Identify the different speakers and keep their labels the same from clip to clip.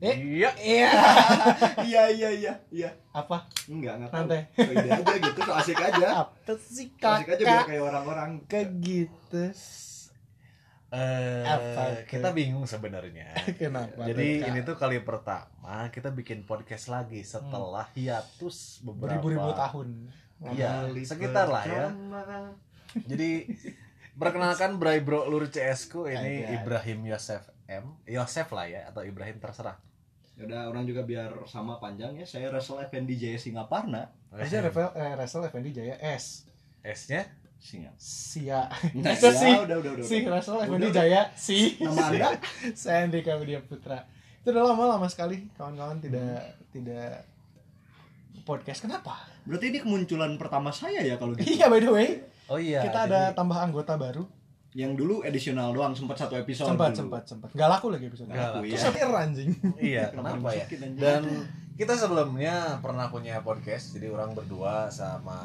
Speaker 1: Eh?
Speaker 2: Iya.
Speaker 1: Iya.
Speaker 3: iya iya iya iya
Speaker 1: Apa?
Speaker 3: enggak enggak tahu
Speaker 1: Santai.
Speaker 3: ide aja gitu so asik aja
Speaker 1: Apa sih
Speaker 3: asik aja biar
Speaker 2: gitu.
Speaker 1: kakak?
Speaker 3: kayak orang-orang
Speaker 1: Kayak gitu.
Speaker 2: Eh,
Speaker 1: Apa tuh?
Speaker 2: kita bingung sebenarnya.
Speaker 1: Kenapa?
Speaker 2: Jadi
Speaker 1: tuh, Kak?
Speaker 2: ini tuh kali pertama kita bikin podcast lagi setelah hiatus beberapa
Speaker 1: Hmm. beribu-ribu tahun.
Speaker 2: Iya, sekitar lah ya. Jadi perkenalkan Bray Bro Lur CS-ku ini
Speaker 1: Ada.
Speaker 2: Ibrahim Yosef M. Yosef lah ya atau Ibrahim terserah.
Speaker 3: Ya udah orang juga biar sama panjang ya saya Russell Effendi Jaya Singaparna
Speaker 1: Harusnya Rafael, eh, Russell Effendi Jaya S.
Speaker 2: S-nya
Speaker 3: Singap
Speaker 1: Sia.
Speaker 3: nah, ya,
Speaker 1: Masa sih?
Speaker 3: udah udah udah
Speaker 1: Si
Speaker 3: udah.
Speaker 1: Russell Effendi
Speaker 3: Udah.
Speaker 1: Jaya. Si.
Speaker 3: nama anda
Speaker 1: Saya Andika Widya Putra. Itu udah lama-lama sekali kawan-kawan tidak tidak podcast. Kenapa?
Speaker 3: berarti ini kemunculan pertama saya ya kalau gitu
Speaker 1: Iya by the way,
Speaker 2: Oh iya.
Speaker 1: kita ada tambah anggota baru.
Speaker 3: yang dulu edisional doang sempat satu episode
Speaker 1: Sempat,
Speaker 3: dulu.
Speaker 1: sempat, sempat. Gak laku lagi episode.
Speaker 3: Nggak laku,
Speaker 1: Terus
Speaker 3: iya.
Speaker 1: akhirnya anjing.
Speaker 2: iya,
Speaker 3: Kenapa
Speaker 2: kenapa ya?
Speaker 3: dimasukin, anjing?
Speaker 2: Dan kita sebelumnya pernah punya podcast jadi orang berdua sama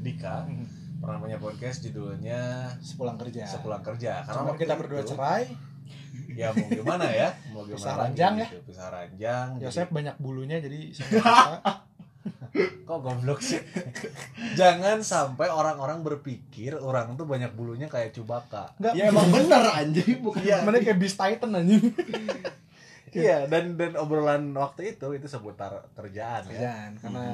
Speaker 2: Dika pernah punya podcast judulnya
Speaker 1: Sepulang kerja.
Speaker 2: sepulang kerja karena
Speaker 1: Cuman
Speaker 2: waktu
Speaker 1: kita berdua
Speaker 2: itu-
Speaker 1: cerai,
Speaker 2: ya mau gimana ya mau gimana
Speaker 1: Pisah
Speaker 2: lagi
Speaker 1: ranjang ya?
Speaker 2: gitu. pisah ranjang jadi-
Speaker 1: Yosef banyak bulunya jadi saya nggak suka.
Speaker 2: kok goblok sih jangan sampai orang-orang berpikir orang tuh banyak bulunya kayak cubaka
Speaker 1: Enggak.
Speaker 3: ya emang bener anjing bukan
Speaker 2: Iya.
Speaker 1: Mana kayak Beast Titan anjing.
Speaker 2: iya dan dan obrolan waktu itu itu seputar kerjaan ya Mm-hmm.
Speaker 1: Kerjaan karena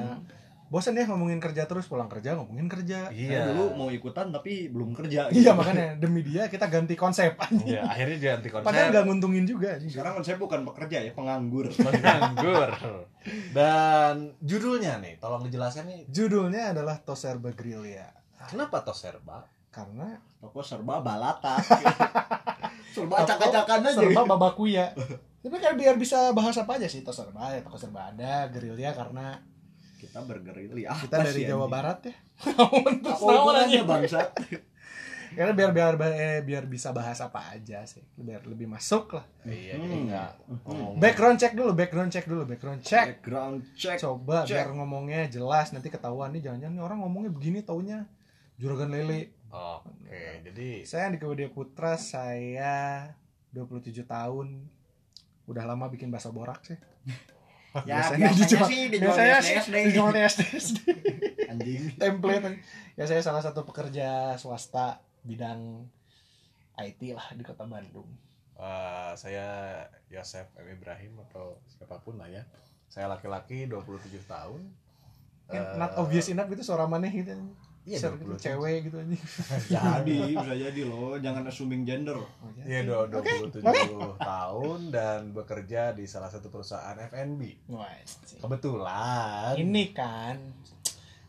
Speaker 1: bosan ya ngomongin kerja terus pulang kerja ngomongin kerja.
Speaker 3: Saya
Speaker 2: iya
Speaker 3: dulu mau ikutan tapi belum kerja gitu.
Speaker 1: Iya makanya demi dia kita ganti konsep anjing.
Speaker 2: Iya, akhirnya dia anti konsep
Speaker 1: Padahal nggak nguntungin juga anjing.
Speaker 3: sekarang kan saya bukan pekerja ya penganggur
Speaker 2: menganggur dan judulnya nih tolong dijelaskan nih
Speaker 1: Judulnya adalah Toserba Grilia
Speaker 2: kenapa toserba
Speaker 1: karena
Speaker 3: toko serba balata serba
Speaker 2: Kan
Speaker 3: acak-acakan aja
Speaker 1: serba babakuya. Tapi kan biar bisa bahas apa aja sih Toserba, ya, Toko Serba ada, Grilia karena
Speaker 3: kita bergerilya
Speaker 1: kita
Speaker 3: Apa
Speaker 1: dari
Speaker 3: sih,
Speaker 1: Jawa
Speaker 3: anjing?
Speaker 1: Barat ya.
Speaker 3: apa
Speaker 1: Terus naon
Speaker 3: hubungannya
Speaker 1: anjing?
Speaker 3: bangsa
Speaker 1: Karena biar biar eh, biar bisa bahas apa aja sih, biar lebih masuk lah.
Speaker 2: iya
Speaker 3: Hmm.
Speaker 2: jadi nggak ngomong
Speaker 1: Background check dulu, background check dulu, background check.
Speaker 3: background check
Speaker 1: Coba
Speaker 3: check.
Speaker 1: biar ngomongnya jelas nanti ketahuan nih jangan-jangan nih orang ngomongnya begini taunya juragan lele.
Speaker 2: oke jadi
Speaker 1: Saya di Widya Putra, saya 27 tahun. Udah lama bikin bahasa borak sih.
Speaker 3: ya
Speaker 1: Biasanya
Speaker 3: biasanya,
Speaker 1: dijual-
Speaker 3: sih dijual
Speaker 1: Biasanya
Speaker 3: SD
Speaker 1: sih
Speaker 3: SD
Speaker 1: dijual di SD.
Speaker 3: anjing
Speaker 1: template. Ya saya salah satu pekerja swasta bidang IT lah di Kota Bandung.
Speaker 2: Eh, saya Yosef M. Ibrahim atau siapapun lah ya. Saya laki-laki 27 tahun.
Speaker 1: Kan
Speaker 2: Eh,
Speaker 1: not obvious enough itu suara maneh gitu.
Speaker 2: Iya,
Speaker 1: Ser-
Speaker 2: 27.
Speaker 1: itu cewek gitu anjing.
Speaker 3: jadi bisa jadi loh jangan assuming gender
Speaker 1: Oh, ya.
Speaker 2: Iya, do- 27
Speaker 1: Oke,
Speaker 2: tahun dan bekerja di salah satu perusahaan F&B.
Speaker 1: Wah, anjing.
Speaker 2: Kebetulan
Speaker 1: Ini kan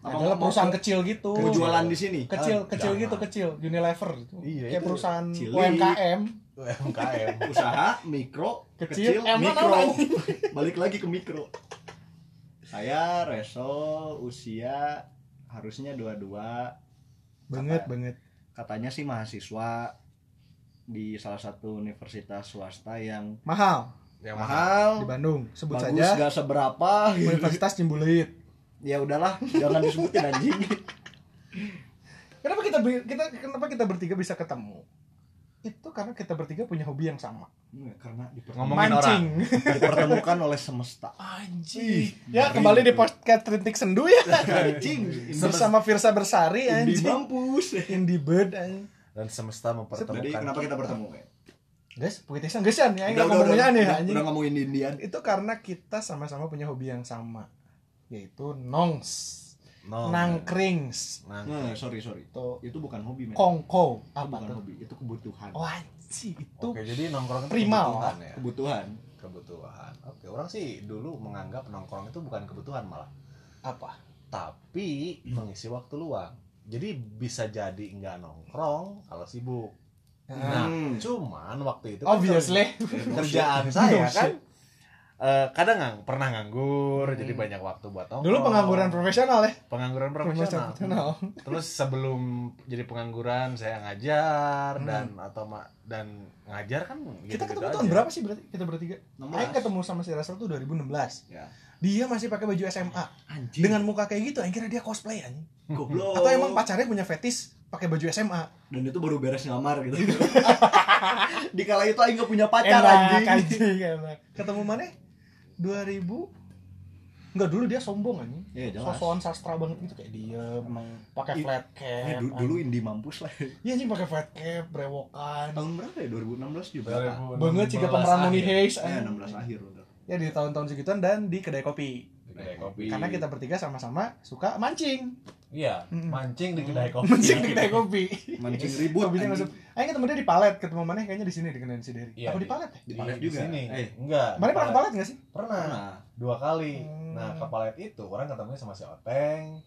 Speaker 3: Apa
Speaker 1: adalah
Speaker 3: mau-
Speaker 1: perusahaan kecil gitu.
Speaker 3: mau jualan di sini
Speaker 1: Kecil,
Speaker 2: Ah,
Speaker 1: kecil
Speaker 2: jangan.
Speaker 1: gitu, kecil. Unilever gitu.
Speaker 2: Iya,
Speaker 1: Kayak
Speaker 2: itu
Speaker 1: perusahaan
Speaker 3: cilik.
Speaker 1: UMKM.
Speaker 2: UMKM.
Speaker 3: Ah. usaha mikro kecil,
Speaker 1: Kecil, emang
Speaker 3: mikro
Speaker 1: orang.
Speaker 3: balik lagi ke mikro saya Resol usia harusnya dua-dua
Speaker 1: Banget,
Speaker 3: Apa?
Speaker 1: banget.
Speaker 3: katanya sih mahasiswa di salah satu universitas swasta yang
Speaker 1: Mahal
Speaker 2: Yang mahal.
Speaker 3: mahal,
Speaker 1: di Bandung. Sebut
Speaker 3: bagus
Speaker 1: saja
Speaker 3: gak seberapa
Speaker 1: Universitas Cimbuluit.
Speaker 3: ya udahlah jangan disebutin anjing
Speaker 1: Kenapa kita ber- kita kenapa kita bertiga bisa ketemu? Itu karena kita bertiga punya hobi yang sama.
Speaker 3: Hmm, karena diper-
Speaker 2: Ngomongin orang.
Speaker 3: dipertemukan oleh semesta
Speaker 1: Anjing.
Speaker 3: Ih,
Speaker 1: Ya
Speaker 3: ngeri
Speaker 1: kembali di
Speaker 3: itu.
Speaker 1: podcast Trintik Sendu ya.
Speaker 3: anjing
Speaker 1: Bersama Firsa
Speaker 3: di
Speaker 1: Bersari anjing.
Speaker 3: mampus
Speaker 1: Indie Bird anjing.
Speaker 2: Dan semesta mempertemukan.
Speaker 3: jadi kenapa kita bertemu
Speaker 1: Guys, puitisnya gesan
Speaker 3: Udah,
Speaker 1: ya. Enggak
Speaker 3: udah,
Speaker 1: ngomongnya
Speaker 3: udah.
Speaker 1: aneh
Speaker 3: Udah-
Speaker 1: anjing.
Speaker 3: udah ngomongin Indian
Speaker 1: Itu karena kita sama-sama punya hobi yang sama yaitu nongs,
Speaker 2: No.
Speaker 1: nangkrings,
Speaker 3: nah,
Speaker 2: Nangkring.
Speaker 3: sorry sorry
Speaker 1: atau
Speaker 3: itu bukan hobi men
Speaker 1: kongko
Speaker 3: itu
Speaker 1: apa
Speaker 3: bukan
Speaker 1: tuh?
Speaker 3: hobi itu kebutuhan
Speaker 1: Oh, iya. anjing itu
Speaker 2: Oke, jadi nongkrong itu
Speaker 1: Primal.
Speaker 2: kebutuhan ya.
Speaker 3: kebutuhan
Speaker 2: Kebutuhan. Oke, orang sih dulu menganggap nongkrong itu bukan kebutuhan malah.
Speaker 1: apa?
Speaker 2: tapi
Speaker 1: Hmm.
Speaker 2: mengisi waktu luang. Jadi bisa jadi nggak nongkrong kalau sibuk. Nah,
Speaker 3: Hmm.
Speaker 2: cuman waktu itu kan
Speaker 1: Obviously.
Speaker 2: kerja- kerjaan saya
Speaker 1: No
Speaker 2: kan
Speaker 1: shit.
Speaker 2: eh, kadang ngang, pernah nganggur, jadi
Speaker 1: Hmm.
Speaker 2: banyak waktu buat nongkrong.
Speaker 1: Dulu pengangguran profesional ya.
Speaker 2: Pengangguran
Speaker 1: Profesional.
Speaker 2: Oh. profesional. Terus sebelum jadi pengangguran saya ngajar
Speaker 1: Hmm.
Speaker 2: dan atau ma- dan ngajar kan
Speaker 1: Kita
Speaker 2: gitu-gitu
Speaker 1: ketemu
Speaker 2: aja.
Speaker 1: tahun berapa sih berarti kita bertiga? Aing
Speaker 3: 16.
Speaker 1: ketemu sama si Russell tuh 2016.
Speaker 3: Ya.
Speaker 1: Dia masih pakai baju SMA
Speaker 3: anjing
Speaker 1: dengan muka kayak gitu, Aing kira dia cosplay anjing.
Speaker 3: goblok
Speaker 2: Oh.
Speaker 1: Atau emang pacarnya punya fetish pakai baju SMA?
Speaker 3: dan itu baru beres ngamar gitu di kala itu aing gak punya pacar
Speaker 1: Enak, kan.
Speaker 3: anjing
Speaker 1: anjing, enak. Ketemu mana? 2000 Enggak dulu dia sombong anjing.
Speaker 3: Iya, jelas.
Speaker 1: Sosokan Iya, sastra banget gitu kayak diem,
Speaker 3: Emang
Speaker 1: pakai
Speaker 3: I-
Speaker 1: flat cap.
Speaker 3: eh, du- dulu indie mampus lah.
Speaker 1: Iya anjing pakai flat cap, brewokan.
Speaker 3: Tahun berapa ya? 2016 juga. Pak.
Speaker 2: 2016
Speaker 1: Banget sih pemeran Moni
Speaker 2: akhir.
Speaker 1: Hayes.
Speaker 3: Eh,
Speaker 1: anjing.
Speaker 3: 16 akhir udah.
Speaker 1: Ya di tahun-tahun segituan dan di kedai kopi.
Speaker 2: Di kedai kopi.
Speaker 1: Karena kita bertiga sama-sama suka mancing.
Speaker 2: iya,
Speaker 1: Mm.
Speaker 2: mancing di kedai kopi.
Speaker 1: Mancing di kedai kopi.
Speaker 3: Mancing ribut.
Speaker 1: Habisnya
Speaker 3: anjing.
Speaker 1: iya. masuk. Ayo ketemu dia di palet, ketemu mana kayaknya di sini di kedai si Derry.
Speaker 2: Iya,
Speaker 1: Apa di
Speaker 2: di-
Speaker 1: palet ya?
Speaker 3: Di palet juga.
Speaker 2: sini.
Speaker 3: Eh,
Speaker 2: enggak. di
Speaker 1: Mana pernah ke
Speaker 2: Palet.
Speaker 1: palet enggak sih?
Speaker 2: Pernah.
Speaker 3: Nah,
Speaker 2: Dua kali.
Speaker 1: Hmm.
Speaker 2: Nah, ke palet itu orang ketemunya sama si Oteng.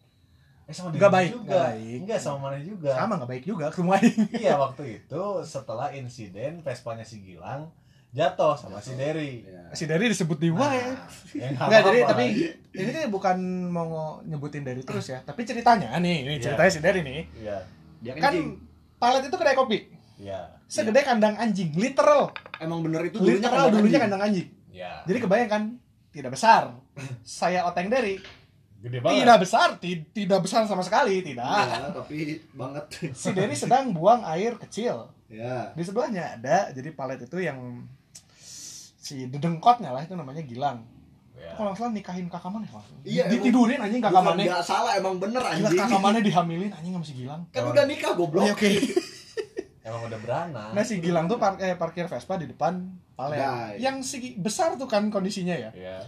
Speaker 2: Eh sama
Speaker 1: Nggak
Speaker 2: Dirjen
Speaker 1: baik,
Speaker 2: juga.
Speaker 1: nggak baik.
Speaker 2: Enggak sama mana juga.
Speaker 1: Sama nggak baik juga ketemu aing.
Speaker 2: Iya, waktu itu setelah insiden Vespanya si Gilang jatuh sama si Derry.
Speaker 3: ya.
Speaker 1: Si Derry disebut di
Speaker 2: Nah,
Speaker 1: wae.
Speaker 2: ya
Speaker 1: Enggak, jadi
Speaker 2: apa-apa.
Speaker 1: tapi ini tuh bukan mau nyebutin dari terus ya, tapi ceritanya nih, ini
Speaker 2: Iya.
Speaker 1: ceritanya si dari nih.
Speaker 2: Iya,
Speaker 3: Dia
Speaker 1: Kan
Speaker 3: kencing.
Speaker 1: palet itu kedai kopi,
Speaker 2: iya,
Speaker 1: segede kandang anjing, literal.
Speaker 3: emang bener itu dulunya
Speaker 1: literal
Speaker 3: kan
Speaker 1: dulunya kandang anjing.
Speaker 2: iya.
Speaker 1: Jadi kebayangkan tidak besar. Saya oteng dari
Speaker 2: Gede banget.
Speaker 1: tidak besar, ti- tidak besar sama sekali, tidak.
Speaker 3: Ya, tapi banget.
Speaker 1: Si Derry sedang buang air kecil.
Speaker 3: ya.
Speaker 1: Di sebelahnya ada jadi palet itu yang si dedengkotnya lah itu namanya Gilang.
Speaker 2: Iya.
Speaker 1: Kalau nggak salah nikahin kakak mana? Bang?
Speaker 3: Iya, emang.
Speaker 1: Ditidurin anjing kakak
Speaker 3: Bukan
Speaker 1: mana?
Speaker 3: nggak salah emang bener
Speaker 1: Gila
Speaker 3: anjing.
Speaker 1: kakak mana dihamilin anjing sama si Gilang.
Speaker 3: Kan udah nikah goblok.
Speaker 1: Iya, oke.
Speaker 2: Emang udah beranak.
Speaker 1: Nah si Gilang tuh par- eh, parkir Vespa di depan palet.
Speaker 3: Nah, iya.
Speaker 1: Yang segi besar tuh kan kondisinya ya.
Speaker 2: Iya.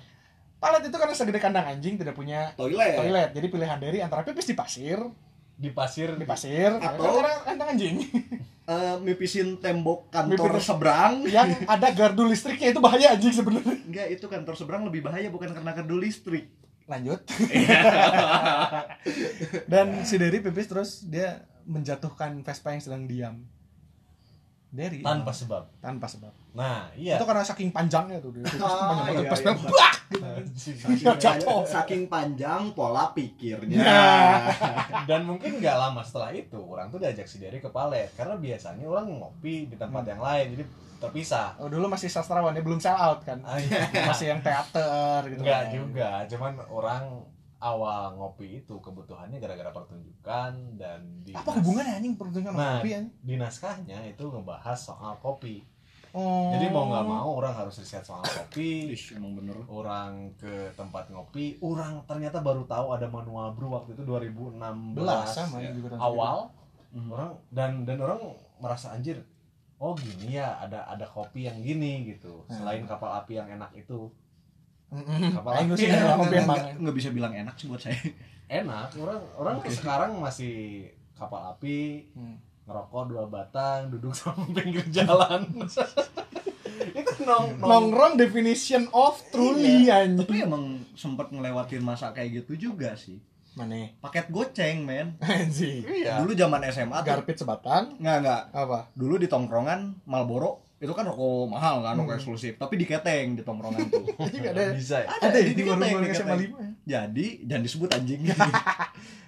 Speaker 1: Palet itu karena segede kandang anjing tidak punya
Speaker 3: Toilet.
Speaker 1: toilet. Jadi pilihan dari antara pipis di pasir,
Speaker 2: Di pasir.
Speaker 1: di pasir, ya,
Speaker 3: Atau-
Speaker 1: karena kandang anjing
Speaker 3: Eh, mipisin tembok kantor
Speaker 1: Mipisin-
Speaker 3: seberang.
Speaker 1: yang ada gardu listriknya itu bahaya anjing sebenarnya.
Speaker 3: Enggak, itu kantor seberang lebih bahaya bukan karena gardu listrik.
Speaker 1: Lanjut. Dan si Derry pipis terus dia menjatuhkan Vespa yang sedang diam. Derry
Speaker 2: tanpa sebab.
Speaker 1: tanpa sebab.
Speaker 2: Nah, iya.
Speaker 1: Itu karena saking panjangnya tuh dia. Pipis
Speaker 3: Ya. Ah,
Speaker 1: panjang banget
Speaker 3: iya,
Speaker 1: pas
Speaker 3: iya.
Speaker 1: dia blak!
Speaker 2: Anjing.
Speaker 1: Jatuh.
Speaker 3: Saking panjang pola pikirnya.
Speaker 1: Nah.
Speaker 2: Dan mungkin nggak lama setelah itu orang tuh diajak si Derry ke palet karena biasanya orang ngopi di tempat
Speaker 1: Hmm.
Speaker 2: yang lain jadi terpisah.
Speaker 1: Oh, dulu masih sastrawan dia belum sell out kan.
Speaker 2: Ah, iya.
Speaker 1: Masih yang teater gitu.
Speaker 2: Enggak
Speaker 1: kan.
Speaker 2: juga, cuman orang awal ngopi itu kebutuhannya gara-gara pertunjukan dan di
Speaker 1: Apa hubungannya anjing peruntungan sama
Speaker 2: Nah.
Speaker 1: kopi anjing?
Speaker 2: di naskahnya itu ngebahas soal kopi.
Speaker 1: Oh.
Speaker 2: Jadi mau nggak mau orang harus riset soal kopi.
Speaker 3: Ih, emang bener.
Speaker 2: orang ke tempat ngopi, orang ternyata baru tahu ada manual brew waktu itu 2016
Speaker 1: belas sama
Speaker 2: ya.
Speaker 1: yang juga tahun
Speaker 2: awal
Speaker 3: Mhm.
Speaker 2: Hmm, orang dan dan orang merasa anjir oh gini ya ada ada kopi yang gini gitu
Speaker 1: Hmm.
Speaker 2: selain kapal api yang enak itu
Speaker 1: segitu. Mm-mm.
Speaker 2: Kapal
Speaker 1: Aing
Speaker 2: api.
Speaker 1: sih nggak kopi
Speaker 3: Iya, Nggak-
Speaker 1: emang.
Speaker 3: nggak- nggak bisa bilang enak sih buat saya.
Speaker 2: enak orang orang tuh sekarang masih kapal api
Speaker 1: Hmm.
Speaker 2: ngerokok dua batang duduk sama pinggir jalan itu nong nong
Speaker 1: Nongkrong definition of truly
Speaker 2: Iya.
Speaker 3: Tapi
Speaker 2: ya-
Speaker 1: anjing.
Speaker 3: emang sempet ngelewatin masa kayak gitu juga sih.
Speaker 1: Mana? ya?
Speaker 3: Paket goceng, men.
Speaker 1: Anjing.
Speaker 2: iya
Speaker 3: Dulu zaman SMA tuh.
Speaker 1: Garpit sebatang
Speaker 3: Nggak, nggak.
Speaker 1: apa?
Speaker 3: Dulu di tongkrongan Marlboro itu kan rokok mahal kan,
Speaker 1: Hmm.
Speaker 3: rokok eksklusif. Tapi di keteng di tongkrongan tuh.
Speaker 1: Anjing ada
Speaker 2: bisa ya?
Speaker 1: ada di
Speaker 3: Diketeng,
Speaker 1: warung-warung
Speaker 3: diketeng.
Speaker 1: SMA 5.
Speaker 3: Jadi jangan disebut anjing.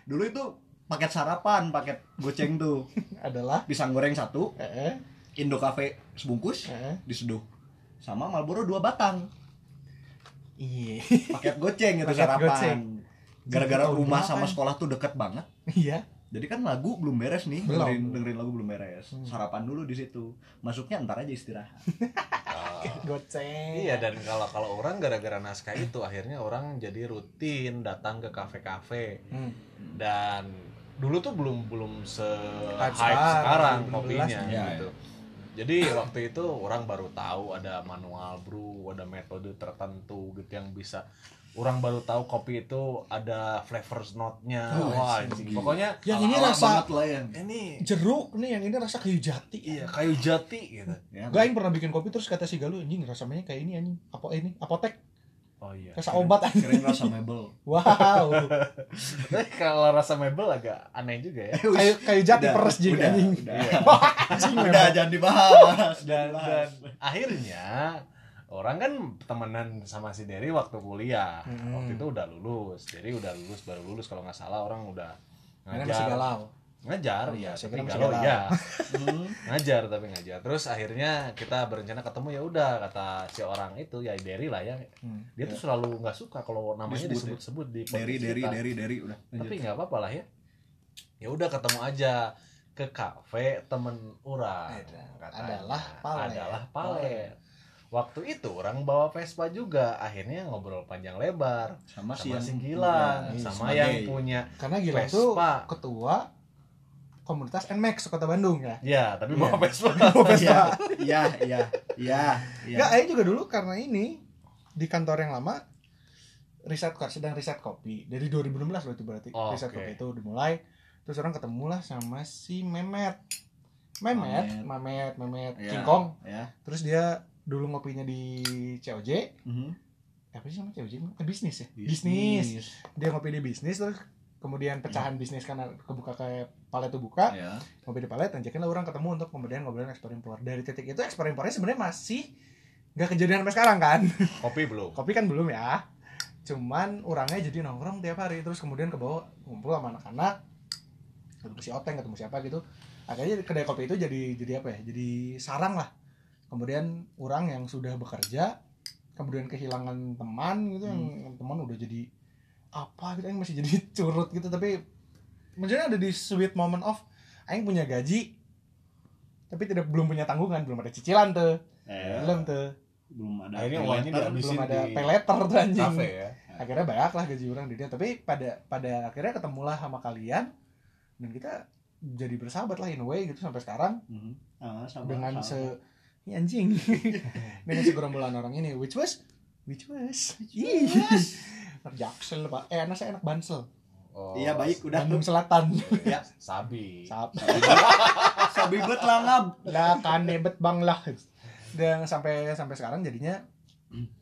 Speaker 3: Dulu itu paket sarapan, paket goceng tuh.
Speaker 1: Adalah
Speaker 3: Pisang goreng satu,
Speaker 1: eh
Speaker 3: Indo Cafe sebungkus,
Speaker 1: eh.
Speaker 3: diseduh. Sama Marlboro dua batang.
Speaker 1: Iya.
Speaker 3: Paket goceng itu
Speaker 1: Paket
Speaker 3: sarapan.
Speaker 1: goceng. Gitu,
Speaker 3: Gara-gara
Speaker 1: Tahun
Speaker 3: rumah
Speaker 1: berapa
Speaker 3: sama
Speaker 1: ini?
Speaker 3: sekolah tuh deket banget.
Speaker 1: Iya.
Speaker 3: Jadi kan lagu belum beres nih,
Speaker 1: Belum.
Speaker 3: dengerin, dengerin lagu belum beres.
Speaker 1: Hmm.
Speaker 3: Sarapan dulu di situ. Masuknya ntar aja istirahat.
Speaker 2: Ah.
Speaker 1: Goceng.
Speaker 2: Iya dan kalau kalau orang gara-gara naskah itu akhirnya orang jadi rutin datang ke kafe-kafe
Speaker 1: Hmm.
Speaker 2: dan dulu tuh belum belum se hype
Speaker 1: sekarang,
Speaker 2: sekarang
Speaker 1: 2016
Speaker 2: kopinya
Speaker 3: ya.
Speaker 2: gitu. Jadi waktu itu orang baru tahu ada manual brew, ada metode tertentu gitu yang bisa orang baru tahu kopi itu ada flavors note-nya.
Speaker 1: Oh,
Speaker 2: Wah, anjing.
Speaker 1: anjing.
Speaker 2: Pokoknya
Speaker 1: Yang ini
Speaker 3: Ala-ala
Speaker 1: rasa-
Speaker 3: banget lah ya.
Speaker 2: ini
Speaker 1: Jeruk nih yang ini rasa kayu jati.
Speaker 2: iya kayu jati gitu.
Speaker 3: Ya,
Speaker 1: Gue yang pernah bikin kopi terus kata si Galuh anjing rasanya kayak ini anjing. Apa ini? Apotek.
Speaker 2: Oh iya.
Speaker 1: Rasa obat anjing.
Speaker 3: kirain rasa mebel.
Speaker 1: Wow.
Speaker 2: Tapi kalau rasa mebel agak aneh juga ya.
Speaker 1: Kayu kayu jati
Speaker 3: Udah,
Speaker 1: peres jing
Speaker 3: udah,
Speaker 1: anjing. Iya.
Speaker 3: udah.
Speaker 1: Anjing
Speaker 3: Udah
Speaker 1: memang.
Speaker 3: jangan dibahas.
Speaker 2: dan, dan
Speaker 3: jangan dibahas.
Speaker 2: akhirnya orang kan temenan sama si Derry waktu kuliah
Speaker 1: Hmm.
Speaker 2: waktu itu udah lulus Derry udah lulus baru lulus kalau nggak salah orang udah
Speaker 1: Karena masih
Speaker 2: ngajar
Speaker 1: galau.
Speaker 2: ngajar
Speaker 1: Oh,
Speaker 2: ya
Speaker 1: saya
Speaker 2: tapi
Speaker 1: kira masih
Speaker 2: galau
Speaker 1: galau.
Speaker 2: ya
Speaker 3: Hmm.
Speaker 2: ngajar tapi ngajar terus akhirnya kita berencana ketemu ya udah kata si orang itu ya Derry lah ya
Speaker 1: Hmm.
Speaker 2: dia tuh selalu nggak suka kalau namanya
Speaker 1: ya?
Speaker 3: Disebut,
Speaker 2: disebut-sebut di podcast
Speaker 3: Dari dari
Speaker 2: kita.
Speaker 3: dari dari udah. Lanjut.
Speaker 2: tapi nggak apa-apa lah ya ya udah ketemu aja ke kafe temen orang
Speaker 1: Iya, Ada-
Speaker 2: katanya.
Speaker 1: adalah Pale.
Speaker 2: adalah
Speaker 1: Pale.
Speaker 2: pale Waktu itu orang bawa Vespa juga, akhirnya ngobrol panjang lebar
Speaker 3: sama,
Speaker 2: sama si
Speaker 3: yang-
Speaker 2: Gilang,
Speaker 3: ya,
Speaker 1: iya,
Speaker 2: sama
Speaker 3: sebagai-
Speaker 2: yang punya.
Speaker 1: Karena Gilang tuh
Speaker 2: Vespa.
Speaker 1: ketua komunitas NMAX Kota Bandung ya.
Speaker 2: Ya, tapi bawa
Speaker 3: Iya.
Speaker 2: Vespa.
Speaker 3: Iya, iya, iya, iya, iya.
Speaker 1: Enggak, Aing juga dulu karena ini di kantor yang lama riset kor sedang riset kopi dari 2016 loh itu berarti
Speaker 2: Oke.
Speaker 1: riset kopi itu dimulai terus orang ketemulah sama si Memet Memet Memet Memet
Speaker 3: Iya.
Speaker 1: Kingkong
Speaker 3: ya.
Speaker 1: terus dia dulu ngopinya di COJ
Speaker 3: Mhm.
Speaker 1: Eh, apa sih sama COJ eh, bisnis ya bisnis dia ngopi di bisnis terus kemudian pecahan bisnis karena kebuka ke palet tuh buka
Speaker 3: Ya.
Speaker 1: ngopi di palet ajakin lah orang ketemu untuk kemudian ngobrolin ekspor impor dari titik itu ekspor impornya sebenarnya masih nggak kejadian sampai sekarang kan
Speaker 2: Kopi belum.
Speaker 1: kopi kan belum ya cuman orangnya jadi nongkrong tiap hari terus kemudian ke bawah ngumpul sama anak-anak ketemu si oteng ketemu siapa gitu akhirnya kedai kopi itu jadi jadi apa ya jadi sarang lah kemudian orang yang sudah bekerja kemudian kehilangan teman gitu yang
Speaker 2: Hmm.
Speaker 1: yang teman udah jadi apa gitu yang masih jadi curut gitu tapi maksudnya ada di sweet moment of aing punya gaji tapi tidak belum punya tanggungan belum ada cicilan tuh
Speaker 3: Eh,
Speaker 1: belum tuh
Speaker 3: belum ada.
Speaker 2: Akhirnya
Speaker 3: pay
Speaker 2: uangnya
Speaker 3: letter.
Speaker 2: dihabisin
Speaker 1: belum ada
Speaker 2: Ya. di
Speaker 1: pay letter tuh anjing
Speaker 2: kafe ya.
Speaker 1: akhirnya banyak lah gaji orang di dia tapi pada pada akhirnya ketemulah sama kalian dan kita jadi bersahabat lah in a way gitu sampai sekarang
Speaker 3: Mhm. Ah, sama,
Speaker 1: dengan
Speaker 3: sama.
Speaker 1: se ini anjing dengan segerombolan orang ini which was which was yes jaksel pak eh anak saya enak bansel
Speaker 2: Oh,
Speaker 3: Iya baik udah
Speaker 1: Bandung Selatan
Speaker 3: ya.
Speaker 2: Sabi.
Speaker 1: Sap.
Speaker 3: Sabi bet langab.
Speaker 1: lah kanebet bang lah dan sampai sampai sekarang jadinya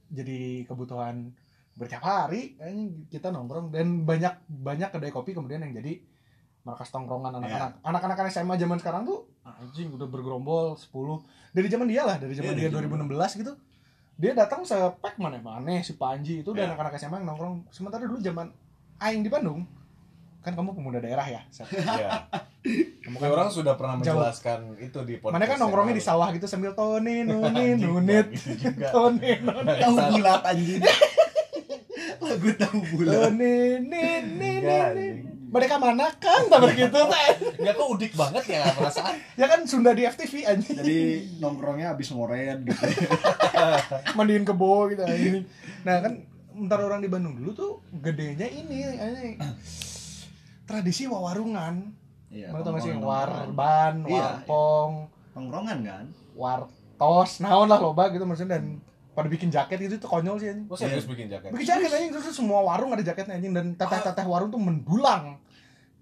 Speaker 1: jadi kebutuhan bertiap hari kayaknya kita nongkrong dan banyak banyak kedai kopi kemudian yang jadi markas tongkrongan anak-anak anak-anak SMA zaman sekarang tuh anjing udah bergerombol 10 dari zaman dia lah dari zaman
Speaker 3: Iya,
Speaker 1: dia
Speaker 3: dari zaman
Speaker 1: 2016 gitu dia datang sepek mana-mana si Panji itu
Speaker 3: Iya.
Speaker 1: dan anak-anak SMA yang nongkrong sementara dulu zaman Aing di Bandung kan kamu pemuda daerah ya Seth?
Speaker 2: Iya.
Speaker 1: kamu
Speaker 2: Mungkin orang sudah pernah
Speaker 1: Jauh.
Speaker 2: menjelaskan itu di podcast.
Speaker 1: Mana kan nongkrongnya di sawah gitu sambil tonin, nunin, nunit,
Speaker 2: gitu juga.
Speaker 1: tonin, nunin,
Speaker 3: Tahu bulat anjing. Lagu tahu bulat.
Speaker 1: tonin, nin, nin,
Speaker 2: Iya,
Speaker 1: nin.
Speaker 2: anjing.
Speaker 1: Mereka mana kan tak begitu teh?
Speaker 2: Enggak kok udik banget ya perasaan.
Speaker 1: Ya kan Sunda di FTV anjing.
Speaker 3: Jadi nongkrongnya habis ngoren gitu.
Speaker 1: Mandiin kebo gitu anjing. Nah kan ntar orang di Bandung dulu tuh gedenya ini anjing. tradisi wawarungan.
Speaker 3: Iya.
Speaker 1: Mana tau gak sih yang
Speaker 3: nongkrongan-nongkrongan.
Speaker 1: warban,
Speaker 3: Iya,
Speaker 1: warpong,
Speaker 3: Nongkrongan kan?
Speaker 1: wartos, naon lah loba gitu maksudnya dan pada bikin jaket gitu tuh konyol sih anjing.
Speaker 2: Gua serius bikin jaket.
Speaker 1: Bikin jaket anjing terus semua warung ada jaketnya anjing dan teteh-teteh warung tuh mendulang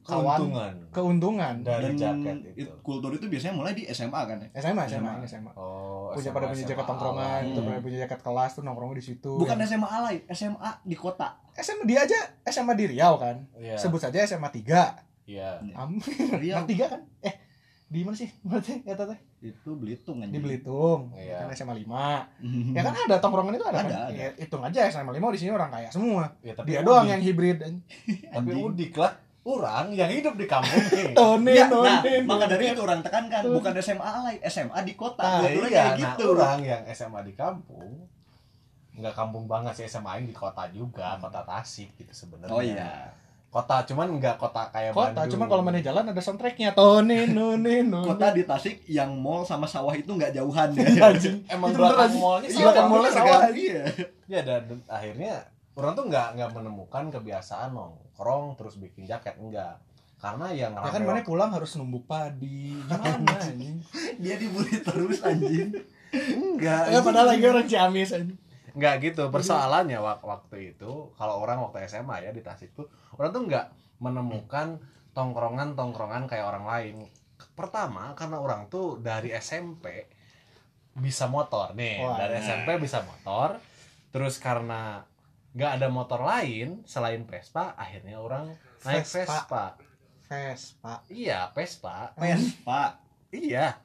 Speaker 1: kawan
Speaker 2: Keuntungan
Speaker 1: keuntungan.
Speaker 2: dari jaket itu.
Speaker 3: it- kultur itu biasanya mulai di SMA kan ya?
Speaker 1: SMA, SMA,
Speaker 3: SMA.
Speaker 1: ini SMA.
Speaker 2: Oh,
Speaker 1: Punya
Speaker 2: SMA,
Speaker 1: pada punya jaket
Speaker 2: awal.
Speaker 1: tongkrongan,
Speaker 3: awal.
Speaker 2: Hmm.
Speaker 1: gitu, pada punya jaket kelas tuh nongkrongnya di situ.
Speaker 3: Bukan
Speaker 1: Ya.
Speaker 3: SMA alay, SMA di kota.
Speaker 1: SMA dia aja SMA di Riau kan.
Speaker 2: Iya.
Speaker 1: Sebut saja SMA 3.
Speaker 2: Iya.
Speaker 1: Am,
Speaker 3: Riau
Speaker 1: SMA 3 kan? Eh, di mana sih? Berarti ya teh
Speaker 3: itu Belitung
Speaker 1: di
Speaker 3: anjing.
Speaker 1: Belitung.
Speaker 2: Iya.
Speaker 1: Kan SMA 5. Ya kan ada tongkrongan itu
Speaker 3: Ada,
Speaker 1: ada, kan?
Speaker 3: ada.
Speaker 1: Ya, hitung aja SMA 5 di sini orang kaya semua.
Speaker 2: Ya, tapi
Speaker 1: Dia
Speaker 2: udik.
Speaker 1: doang yang hibrid.
Speaker 2: tapi
Speaker 3: Anjing.
Speaker 2: udik lah orang yang hidup di kampung nih.
Speaker 1: Tonin,
Speaker 3: Ya, nah,
Speaker 1: tonin,
Speaker 3: maka dari
Speaker 1: tonin.
Speaker 3: itu orang tekankan bukan SMA alay, SMA di kota.
Speaker 2: Nah,
Speaker 3: Kulturnya
Speaker 2: iya,
Speaker 3: kayak
Speaker 2: nah,
Speaker 3: gitu.
Speaker 2: orang yang SMA di kampung nggak kampung banget sih SMA ini di kota juga,
Speaker 1: Hmm.
Speaker 2: kota Tasik gitu sebenarnya.
Speaker 3: oh iya.
Speaker 2: Kota cuman nggak kota kayak
Speaker 1: kota
Speaker 2: Bandung.
Speaker 1: cuman kalau mana jalan ada soundtracknya tonin nunin nunin
Speaker 3: Kota di Tasik yang mall sama sawah itu nggak jauhan ya.
Speaker 1: Iya, anjing
Speaker 2: emang
Speaker 1: Itu
Speaker 2: belakang
Speaker 1: beneran.
Speaker 2: mallnya
Speaker 1: Iya, belakang
Speaker 2: sama.
Speaker 1: mallnya sama.
Speaker 3: sekarang
Speaker 1: sawah.
Speaker 3: iya.
Speaker 2: Ya dan akhirnya orang tuh nggak nggak menemukan kebiasaan nongkrong terus bikin jaket enggak. Karena yang
Speaker 1: ya kan mana pulang harus numbuk padi gimana anjing
Speaker 3: Dia dibully terus anjing.
Speaker 2: enggak.
Speaker 3: Eh,
Speaker 1: ya padahal lagi orang Ciamis anjing
Speaker 2: Enggak gitu.
Speaker 1: Iya.
Speaker 2: Persoalannya wak- waktu itu kalau orang waktu SMA ya di Tasik tuh orang tuh nggak menemukan tongkrongan-tongkrongan kayak orang lain. Pertama karena orang tuh dari SMP bisa motor nih.
Speaker 1: Wah,
Speaker 2: dari
Speaker 3: iya.
Speaker 2: SMP bisa motor. Terus karena nggak ada motor lain selain Vespa, akhirnya orang naik
Speaker 1: Vespa.
Speaker 2: Vespa.
Speaker 1: Vespa
Speaker 2: Iya, Vespa.
Speaker 3: Pes, Pak.
Speaker 2: Iya.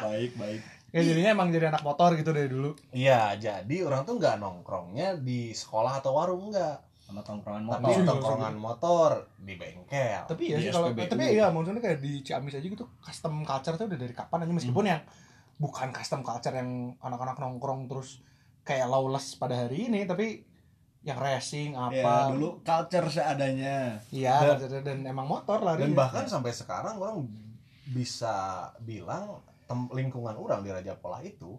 Speaker 3: Baik, baik.
Speaker 1: ya jadinya emang jadi anak motor gitu dari dulu
Speaker 2: Iya, jadi orang tuh nggak nongkrongnya di sekolah atau warung nggak,
Speaker 3: Sama tongkrongan
Speaker 2: tapi
Speaker 3: motor.
Speaker 1: Iya.
Speaker 2: nongkrongan motor di bengkel.
Speaker 1: tapi ya
Speaker 3: Di
Speaker 1: sih kalau
Speaker 3: SPBU.
Speaker 1: tapi ya maksudnya kayak di Ciamis aja gitu custom culture tuh udah dari kapan aja meskipun yang bukan custom culture yang anak-anak nongkrong terus kayak lawless pada hari ini tapi yang racing
Speaker 3: Ya,
Speaker 1: apa
Speaker 3: dulu culture seadanya.
Speaker 1: iya
Speaker 2: Dan-
Speaker 1: dan, dan emang motor lah
Speaker 2: Dan bahkan sampai sekarang orang bisa bilang tem- lingkungan orang di Raja Pola itu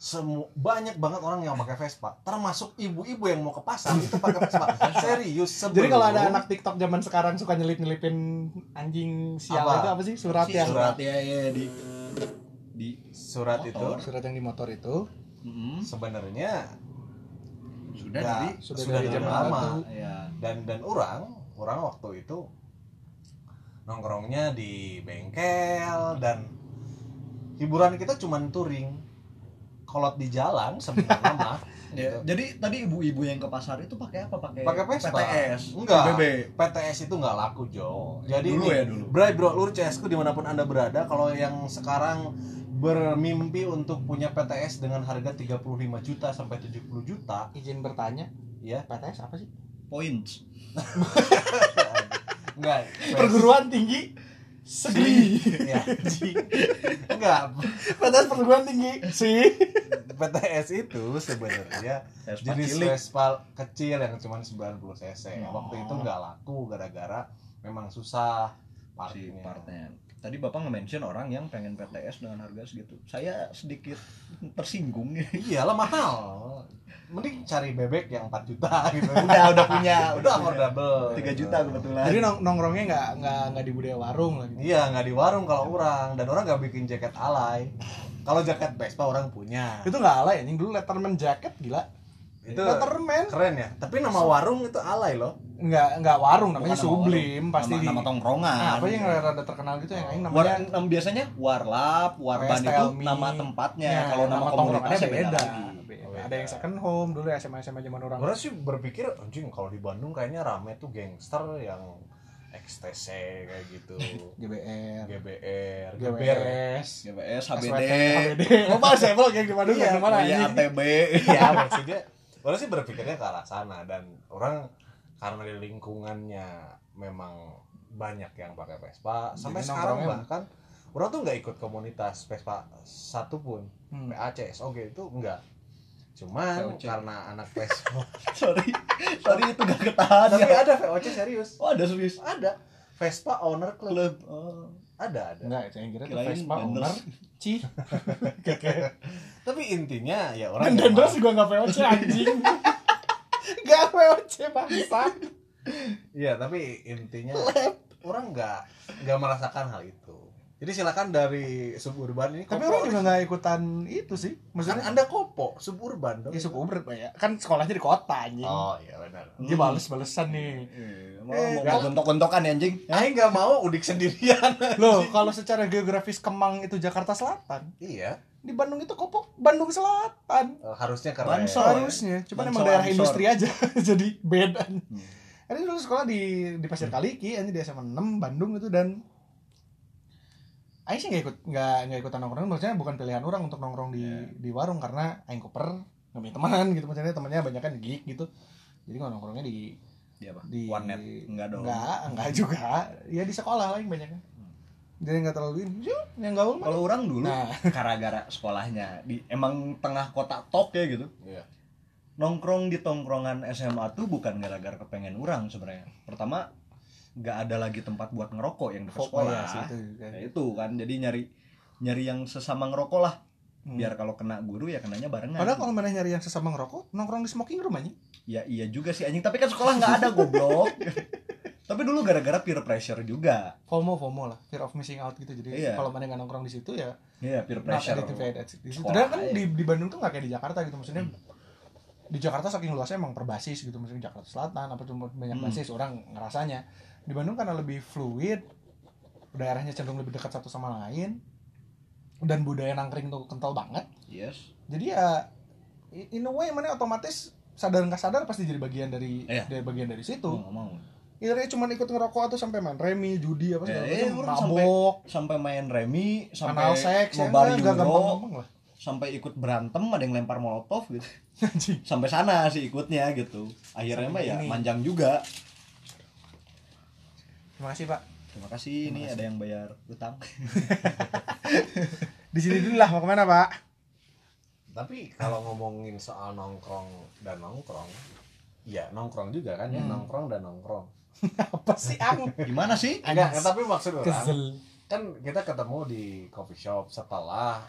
Speaker 2: semu banyak banget orang yang pakai Vespa termasuk ibu-ibu yang mau ke pasar itu pakai Vespa serius sebelum
Speaker 1: Jadi kalau ada anak TikTok zaman sekarang suka nyelip-nyelipin anjing sial
Speaker 2: Apa?
Speaker 1: itu apa sih surat
Speaker 2: Si
Speaker 1: yang
Speaker 3: surat ya, ya di di
Speaker 2: surat itu
Speaker 3: Motor.
Speaker 1: surat yang di motor itu
Speaker 3: Mm-mm.
Speaker 2: sebenarnya
Speaker 3: sudah
Speaker 2: nggak-
Speaker 3: dari
Speaker 1: sudah
Speaker 2: sudah,
Speaker 1: dari
Speaker 2: dari
Speaker 1: zaman
Speaker 2: lama
Speaker 1: dulu.
Speaker 3: ya
Speaker 2: dan dan orang orang waktu itu nongkrongnya di bengkel dan hiburan kita cuman touring kolot di jalan sebenarnya Gitu. mah
Speaker 3: Ya, jadi tadi ibu-ibu yang ke pasar itu pakai apa? Pakai
Speaker 2: Pakai Vespa.
Speaker 3: PTS.
Speaker 2: Enggak.
Speaker 3: PBB.
Speaker 2: PTS itu nggak laku Jo jadi
Speaker 3: Dulu
Speaker 2: ini,
Speaker 3: ya, dulu.
Speaker 2: Bray bro lur CSku dimanapun anda berada kalau yang sekarang bermimpi untuk punya PTS dengan harga 35 juta sampai 70 juta
Speaker 1: izin bertanya
Speaker 2: ya
Speaker 3: Iya.
Speaker 1: PTS apa sih
Speaker 3: Points.
Speaker 2: enggak
Speaker 1: perguruan tinggi segeri
Speaker 2: ya anjing. enggak
Speaker 1: PTS perguruan tinggi sih
Speaker 2: PTS itu sebenarnya
Speaker 3: Vespa
Speaker 2: jenis
Speaker 3: cilik.
Speaker 2: Vespa kecil yang cuma 90 cc.
Speaker 3: Oh.
Speaker 2: Waktu itu nggak laku gara-gara memang susah
Speaker 3: Si
Speaker 2: parkirnya.
Speaker 3: partnya. Tadi Bapak nge-mention orang yang pengen PTS dengan harga segitu. Saya sedikit tersinggung nih.
Speaker 2: Iya lah mahal. Mending cari bebek yang 4 juta gitu.
Speaker 3: udah, udah punya,
Speaker 2: udah
Speaker 3: udah punya.
Speaker 2: affordable.
Speaker 3: 3 juta kebetulan.
Speaker 1: jadi nong- nongkrongnya nggak nggak nggak di budaya warung lagi
Speaker 2: Iya nggak di warung kalau orang dan orang nggak bikin jaket alay. Kalau jaket Vespa orang punya.
Speaker 1: itu nggak alay anjing dulu letterman jacket gila
Speaker 2: Itu
Speaker 1: letterman
Speaker 2: keren ya. Tapi nama warung itu alay loh.
Speaker 1: nggak nggak warung
Speaker 3: Bukan
Speaker 1: namanya
Speaker 3: nama
Speaker 1: sublim
Speaker 3: warung,
Speaker 1: pasti
Speaker 3: nama, nama
Speaker 1: di-
Speaker 3: tongkrongan.
Speaker 1: Ah, apa yang rada terkenal gitu yang aing
Speaker 3: War,
Speaker 1: namanya
Speaker 3: nam- biasanya warlap, warban
Speaker 1: West
Speaker 3: itu
Speaker 1: Elmi.
Speaker 3: nama tempatnya.
Speaker 1: Ya,
Speaker 3: Kalau nama,
Speaker 1: tongkrongannya
Speaker 3: komunitasnya
Speaker 1: beda,
Speaker 3: beda.
Speaker 1: beda.
Speaker 3: lagi.
Speaker 1: Ada yang second home dulu SMA SMA zaman orang.
Speaker 2: Orang sih berpikir anjing kalau di Bandung kayaknya rame tuh gangster yang XTC kayak gitu.
Speaker 1: GBR,
Speaker 2: GBR, GBR.
Speaker 1: GBS,
Speaker 3: GBS, HBD.
Speaker 1: SWT, HBD. Lo bahas ya, kayak di Bandung
Speaker 2: Iya,
Speaker 1: kayak di mana
Speaker 3: Iya,
Speaker 1: anjing?
Speaker 3: ATB.
Speaker 2: Iya, maksudnya orang sih berpikirnya ke arah sana dan orang karena di lingkungannya memang banyak yang pakai Vespa sampai
Speaker 1: Jadi
Speaker 2: sekarang
Speaker 1: nongkrongnya-
Speaker 2: bahkan orang tuh nggak ikut komunitas Vespa satupun
Speaker 1: Hmm.
Speaker 2: PAC SOG itu enggak cuman
Speaker 3: VOC.
Speaker 2: karena anak Vespa
Speaker 3: Sorry. Sorry itu gak ketahan.
Speaker 2: tapi
Speaker 3: ya.
Speaker 2: ada VOC serius
Speaker 3: Oh, ada serius.
Speaker 2: ada Vespa owner club
Speaker 3: Klub. Oh.
Speaker 2: ada ada
Speaker 1: Enggak, saya kira itu
Speaker 3: Kirain
Speaker 1: Vespa
Speaker 3: Banders.
Speaker 1: owner. Ci. Kayak
Speaker 2: tapi intinya ya orang yang
Speaker 1: Banders gua enggak VOC anjing. Enggak VOC bangsa.
Speaker 2: Iya, tapi intinya orang nggak nggak merasakan hal itu. Jadi silakan dari suburban ini.
Speaker 1: Tapi
Speaker 2: kopo.
Speaker 1: orang juga enggak ikutan itu sih.
Speaker 2: kan
Speaker 1: Maksudnya
Speaker 2: Anda kopo suburban dong.
Speaker 1: ya suku uber Pak, ya. Kan sekolahnya di kota anjing.
Speaker 2: Oh iya benar.
Speaker 1: Dia bales-balesan nih.
Speaker 3: Eh,
Speaker 1: Eh,
Speaker 3: mau gontok-gontokan ya anjing.
Speaker 2: Aing nggak mau udik sendirian.
Speaker 1: Loh, kalau secara geografis Kemang itu Jakarta Selatan,
Speaker 2: iya,
Speaker 1: di Bandung itu kopok Bandung Selatan.
Speaker 2: eh, harusnya keren.
Speaker 3: Bangsat.
Speaker 1: Seharusnya, cuma emang
Speaker 3: Bangsal
Speaker 1: daerah
Speaker 3: Ansor.
Speaker 1: industri aja jadi beda.
Speaker 3: Hmm.
Speaker 1: Ini dulu sekolah di di Pasir Kaliki, ini di SMA 6 Bandung itu dan Aing sih nggak ikut nggak nggak ikutan nongkrong, maksudnya bukan pilihan orang untuk nongkrong di
Speaker 3: Iya.
Speaker 1: di warung karena Aing koper nggak punya teman gitu, maksudnya temannya banyak kan geek gitu, jadi nggak nongkrongnya di
Speaker 3: Di apa?
Speaker 1: di
Speaker 3: One net. Enggak dong.
Speaker 1: Enggak, enggak juga. Ya di sekolah lah yang banyak kan. Jadi nggak terlalu ini, Yuk, yang gaul mah.
Speaker 3: Kalau orang dulu
Speaker 1: Nah,
Speaker 3: gara-gara sekolahnya di emang tengah kota top ya gitu.
Speaker 2: Iya.
Speaker 3: Nongkrong di tongkrongan SMA tuh bukan gara-gara kepengen orang sebenarnya. Pertama nggak ada lagi tempat buat ngerokok yang dekat
Speaker 1: fokus
Speaker 3: sekolah.
Speaker 1: ya, sih itu juga.
Speaker 3: Nah, itu kan jadi nyari nyari yang sesama ngerokok lah
Speaker 1: Hmm.
Speaker 3: biar kalau kena guru ya kenanya barengan.
Speaker 1: Padahal kalau mana nyari yang sesama ngerokok, nongkrong di smoking room aja.
Speaker 3: Ya iya juga sih anjing tapi kan sekolah nggak ada goblok. tapi dulu gara-gara peer pressure juga.
Speaker 1: FOMO FOMO lah, fear of missing out gitu. Jadi
Speaker 3: Iya.
Speaker 1: kalau mana nggak nongkrong di situ ya
Speaker 3: Iya peer
Speaker 1: pressure
Speaker 3: pressure.
Speaker 1: di di situ.
Speaker 3: sekolah,
Speaker 1: Dan kan
Speaker 3: iya.
Speaker 1: di, di Bandung tuh nggak kayak di Jakarta gitu maksudnya. Di Jakarta saking luasnya emang perbasis gitu maksudnya Jakarta Selatan apa cuma banyak
Speaker 3: Hmm.
Speaker 1: basis orang ngerasanya. Di Bandung karena lebih fluid, daerahnya cenderung lebih dekat satu sama lain dan budaya nangkring tuh kental banget.
Speaker 3: Yes.
Speaker 1: Jadi ya i- in a way mana otomatis sadar nggak sadar pasti jadi bagian dari
Speaker 3: Iya.
Speaker 1: dari bagian dari situ.
Speaker 3: Mau nggak mau.
Speaker 1: Iya cuma ikut ngerokok atau sampai main remi, judi apa segala
Speaker 3: Ya, iya,
Speaker 1: macam,
Speaker 3: orang
Speaker 1: mabok,
Speaker 3: Sampai main remi,
Speaker 1: anal
Speaker 3: sampai
Speaker 1: seks,
Speaker 3: ngebar
Speaker 1: ya enggak
Speaker 3: Euro.
Speaker 1: enggak gampang-gampang lah.
Speaker 3: sampai ikut berantem ada yang lempar molotov gitu
Speaker 1: Anjing.
Speaker 3: sampai sana sih ikutnya gitu akhirnya mah
Speaker 1: Sampai
Speaker 3: ya
Speaker 1: ini.
Speaker 3: panjang juga
Speaker 1: Terima kasih Pak.
Speaker 3: terima kasih ini ada yang bayar utang
Speaker 1: Di sini dulu lah mau kemana Pak?
Speaker 2: Tapi kalau ngomongin soal nongkrong dan nongkrong, ya nongkrong juga kan
Speaker 1: Hmm.
Speaker 2: ya nongkrong dan nongkrong.
Speaker 1: apa sih ang?
Speaker 3: gimana sih
Speaker 2: Enggak, tapi maksud orang
Speaker 1: Kesel.
Speaker 2: kan kita ketemu di coffee shop setelah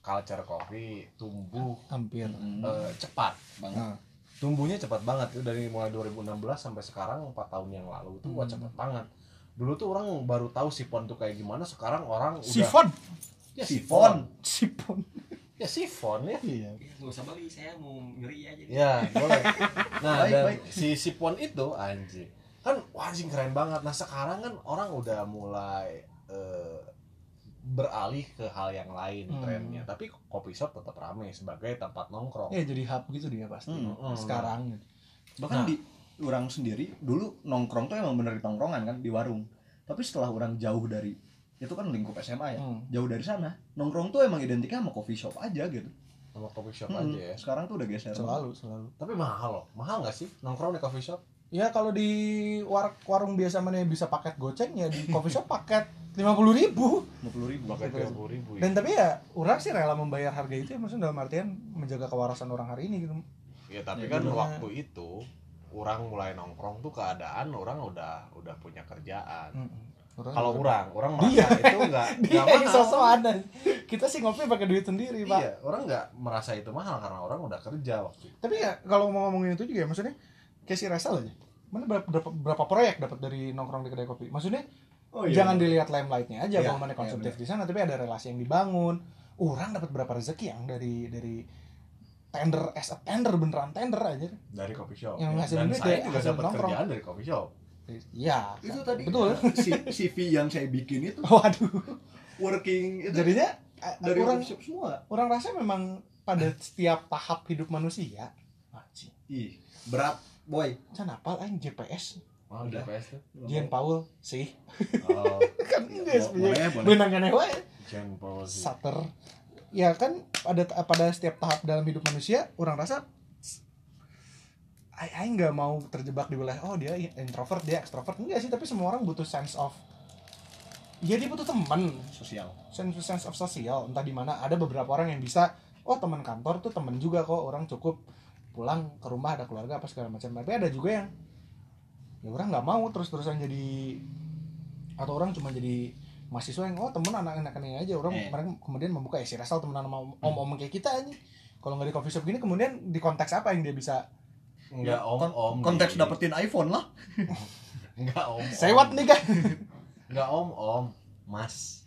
Speaker 2: culture coffee tumbuh
Speaker 1: hampir
Speaker 3: Nah,
Speaker 2: eh, cepat
Speaker 4: banget
Speaker 1: Nah,
Speaker 2: tumbuhnya cepat banget itu dari mulai 2016 sampai sekarang 4 tahun yang lalu tuh wah
Speaker 1: Hmm.
Speaker 2: cepat banget dulu tuh orang baru tahu sifon tuh kayak gimana sekarang orang udah
Speaker 1: sifon
Speaker 2: ya
Speaker 3: Sifon.
Speaker 2: sifon
Speaker 1: sifon
Speaker 2: ya sifon ya
Speaker 1: iya
Speaker 4: nggak usah beli saya mau nyuri aja deh.
Speaker 2: ya boleh nah
Speaker 3: Baik,
Speaker 2: dan
Speaker 3: baik.
Speaker 2: si sifon itu anjing kan wah anjing keren banget nah sekarang kan orang udah mulai eh, beralih ke hal yang lain
Speaker 1: Hmm.
Speaker 2: trennya tapi kopi shop tetap ramai sebagai tempat nongkrong
Speaker 1: ya jadi hub gitu dia pasti
Speaker 3: Hmm,
Speaker 2: hmm.
Speaker 1: sekarang gitu.
Speaker 3: bahkan
Speaker 2: Nah.
Speaker 3: di orang sendiri dulu nongkrong tuh emang bener di tongkrongan kan di warung tapi setelah orang jauh dari itu kan lingkup SMA ya
Speaker 1: Hmm.
Speaker 3: jauh dari sana nongkrong tuh emang identiknya sama coffee shop aja gitu
Speaker 2: sama kopi shop
Speaker 3: Mm-mm.
Speaker 2: aja ya
Speaker 3: sekarang tuh udah geser
Speaker 1: selalu selalu
Speaker 2: tapi mahal loh mahal nggak sih nongkrong di coffee shop
Speaker 1: ya kalau di war- warung biasa mana yang bisa paket goceng ya di coffee shop paket lima puluh ribu
Speaker 3: 50 ribu
Speaker 2: Pakai
Speaker 1: Gitu.
Speaker 2: puluh ribu ya.
Speaker 1: dan tapi ya orang sih rela membayar harga itu ya maksudnya dalam artian menjaga kewarasan orang hari ini gitu
Speaker 2: Ya tapi
Speaker 3: Ya,
Speaker 2: kan
Speaker 1: gimana?
Speaker 2: waktu itu orang mulai nongkrong tuh keadaan orang udah udah punya kerjaan. Kalau orang, orang merasa itu nggak
Speaker 1: Hmm. dia
Speaker 2: nggak
Speaker 1: yang
Speaker 2: mahal.
Speaker 1: sosok ada kita sih ngopi pakai duit sendiri pak
Speaker 2: Iya, orang nggak merasa itu mahal karena orang udah kerja waktu itu.
Speaker 1: tapi ya kalau mau ngomongin itu juga ya, maksudnya kayak si Resel aja mana berapa, berapa, berapa proyek dapat dari nongkrong di kedai kopi maksudnya
Speaker 3: oh,
Speaker 1: jangan dilihat limelight-nya aja
Speaker 3: Iya,
Speaker 1: kalau mana
Speaker 3: iya,
Speaker 1: konsumtif di sana tapi ada relasi yang dibangun orang dapat berapa rezeki yang dari dari tender as a tender beneran tender aja
Speaker 2: dari coffee shop.
Speaker 1: Yang ngasih
Speaker 2: Dan
Speaker 1: duit
Speaker 2: saya
Speaker 1: ya,
Speaker 2: juga
Speaker 1: hasil
Speaker 2: dapat
Speaker 1: nongkrong.
Speaker 2: kerjaan dari coffee shop.
Speaker 1: iya
Speaker 3: itu tadi
Speaker 1: betul
Speaker 3: si CV yang saya bikin itu
Speaker 1: waduh
Speaker 3: working itu
Speaker 1: jadinya eh,
Speaker 3: dari
Speaker 1: orang
Speaker 3: coffee shop semua
Speaker 1: orang rasa memang pada setiap tahap hidup manusia anjing
Speaker 3: ih berat boy
Speaker 1: can apal aing JPS
Speaker 2: Mahal
Speaker 3: Udah.
Speaker 2: GPS tuh.
Speaker 1: Jean Paul sih
Speaker 2: Oh,
Speaker 1: kan
Speaker 3: Bo-
Speaker 1: Inggris
Speaker 3: boleh boleh
Speaker 1: benangan wae
Speaker 2: Jean Paul sih.
Speaker 1: Sater eh. ya kan pada pada setiap tahap dalam hidup manusia orang rasa I- Aing nggak mau terjebak di wilayah oh dia introvert dia extrovert enggak sih tapi semua orang butuh sense of ya dia butuh teman
Speaker 3: sosial
Speaker 1: sense sense of sosial entah di mana ada beberapa orang yang bisa oh teman kantor tuh teman juga kok orang cukup pulang ke rumah ada keluarga apa segala macam tapi ada juga yang ya orang nggak mau terus terusan jadi atau orang cuma jadi mahasiswa yang oh temen anak-anak ini aja orang
Speaker 3: Eh.
Speaker 1: mereka kemudian membuka ya si Rasal temenan sama om-om kayak kita ini kalau nggak di coffee shop gini kemudian di konteks apa yang dia bisa
Speaker 2: Nggak om
Speaker 3: Kon-
Speaker 2: om. di-
Speaker 3: konteks dapetin iPhone lah
Speaker 2: Nggak om. om.
Speaker 1: sewat nih kan
Speaker 2: Nggak om om. Mas.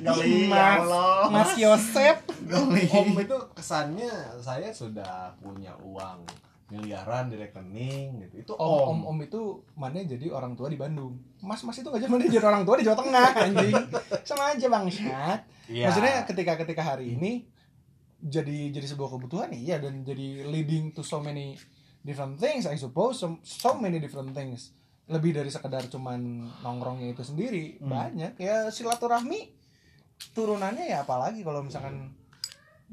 Speaker 3: Ngeli,
Speaker 1: Mas.
Speaker 3: ya Allah.
Speaker 1: Mas Yosep
Speaker 3: Ngeli.
Speaker 2: Om itu kesannya saya sudah punya uang miliaran di rekening gitu. Itu
Speaker 1: om om
Speaker 2: om.
Speaker 1: om itu mana jadi orang tua di Bandung mas mas itu nggak jadi mana jadi orang tua di Jawa Tengah anjing sama aja bangsat
Speaker 2: Iya.
Speaker 1: maksudnya ketika ketika hari ini jadi jadi sebuah kebutuhan iya dan jadi leading to so many different things I suppose so, so many different things lebih dari sekedar cuman nongkrongnya itu sendiri
Speaker 3: Hmm.
Speaker 1: banyak ya silaturahmi turunannya ya apalagi kalau misalkan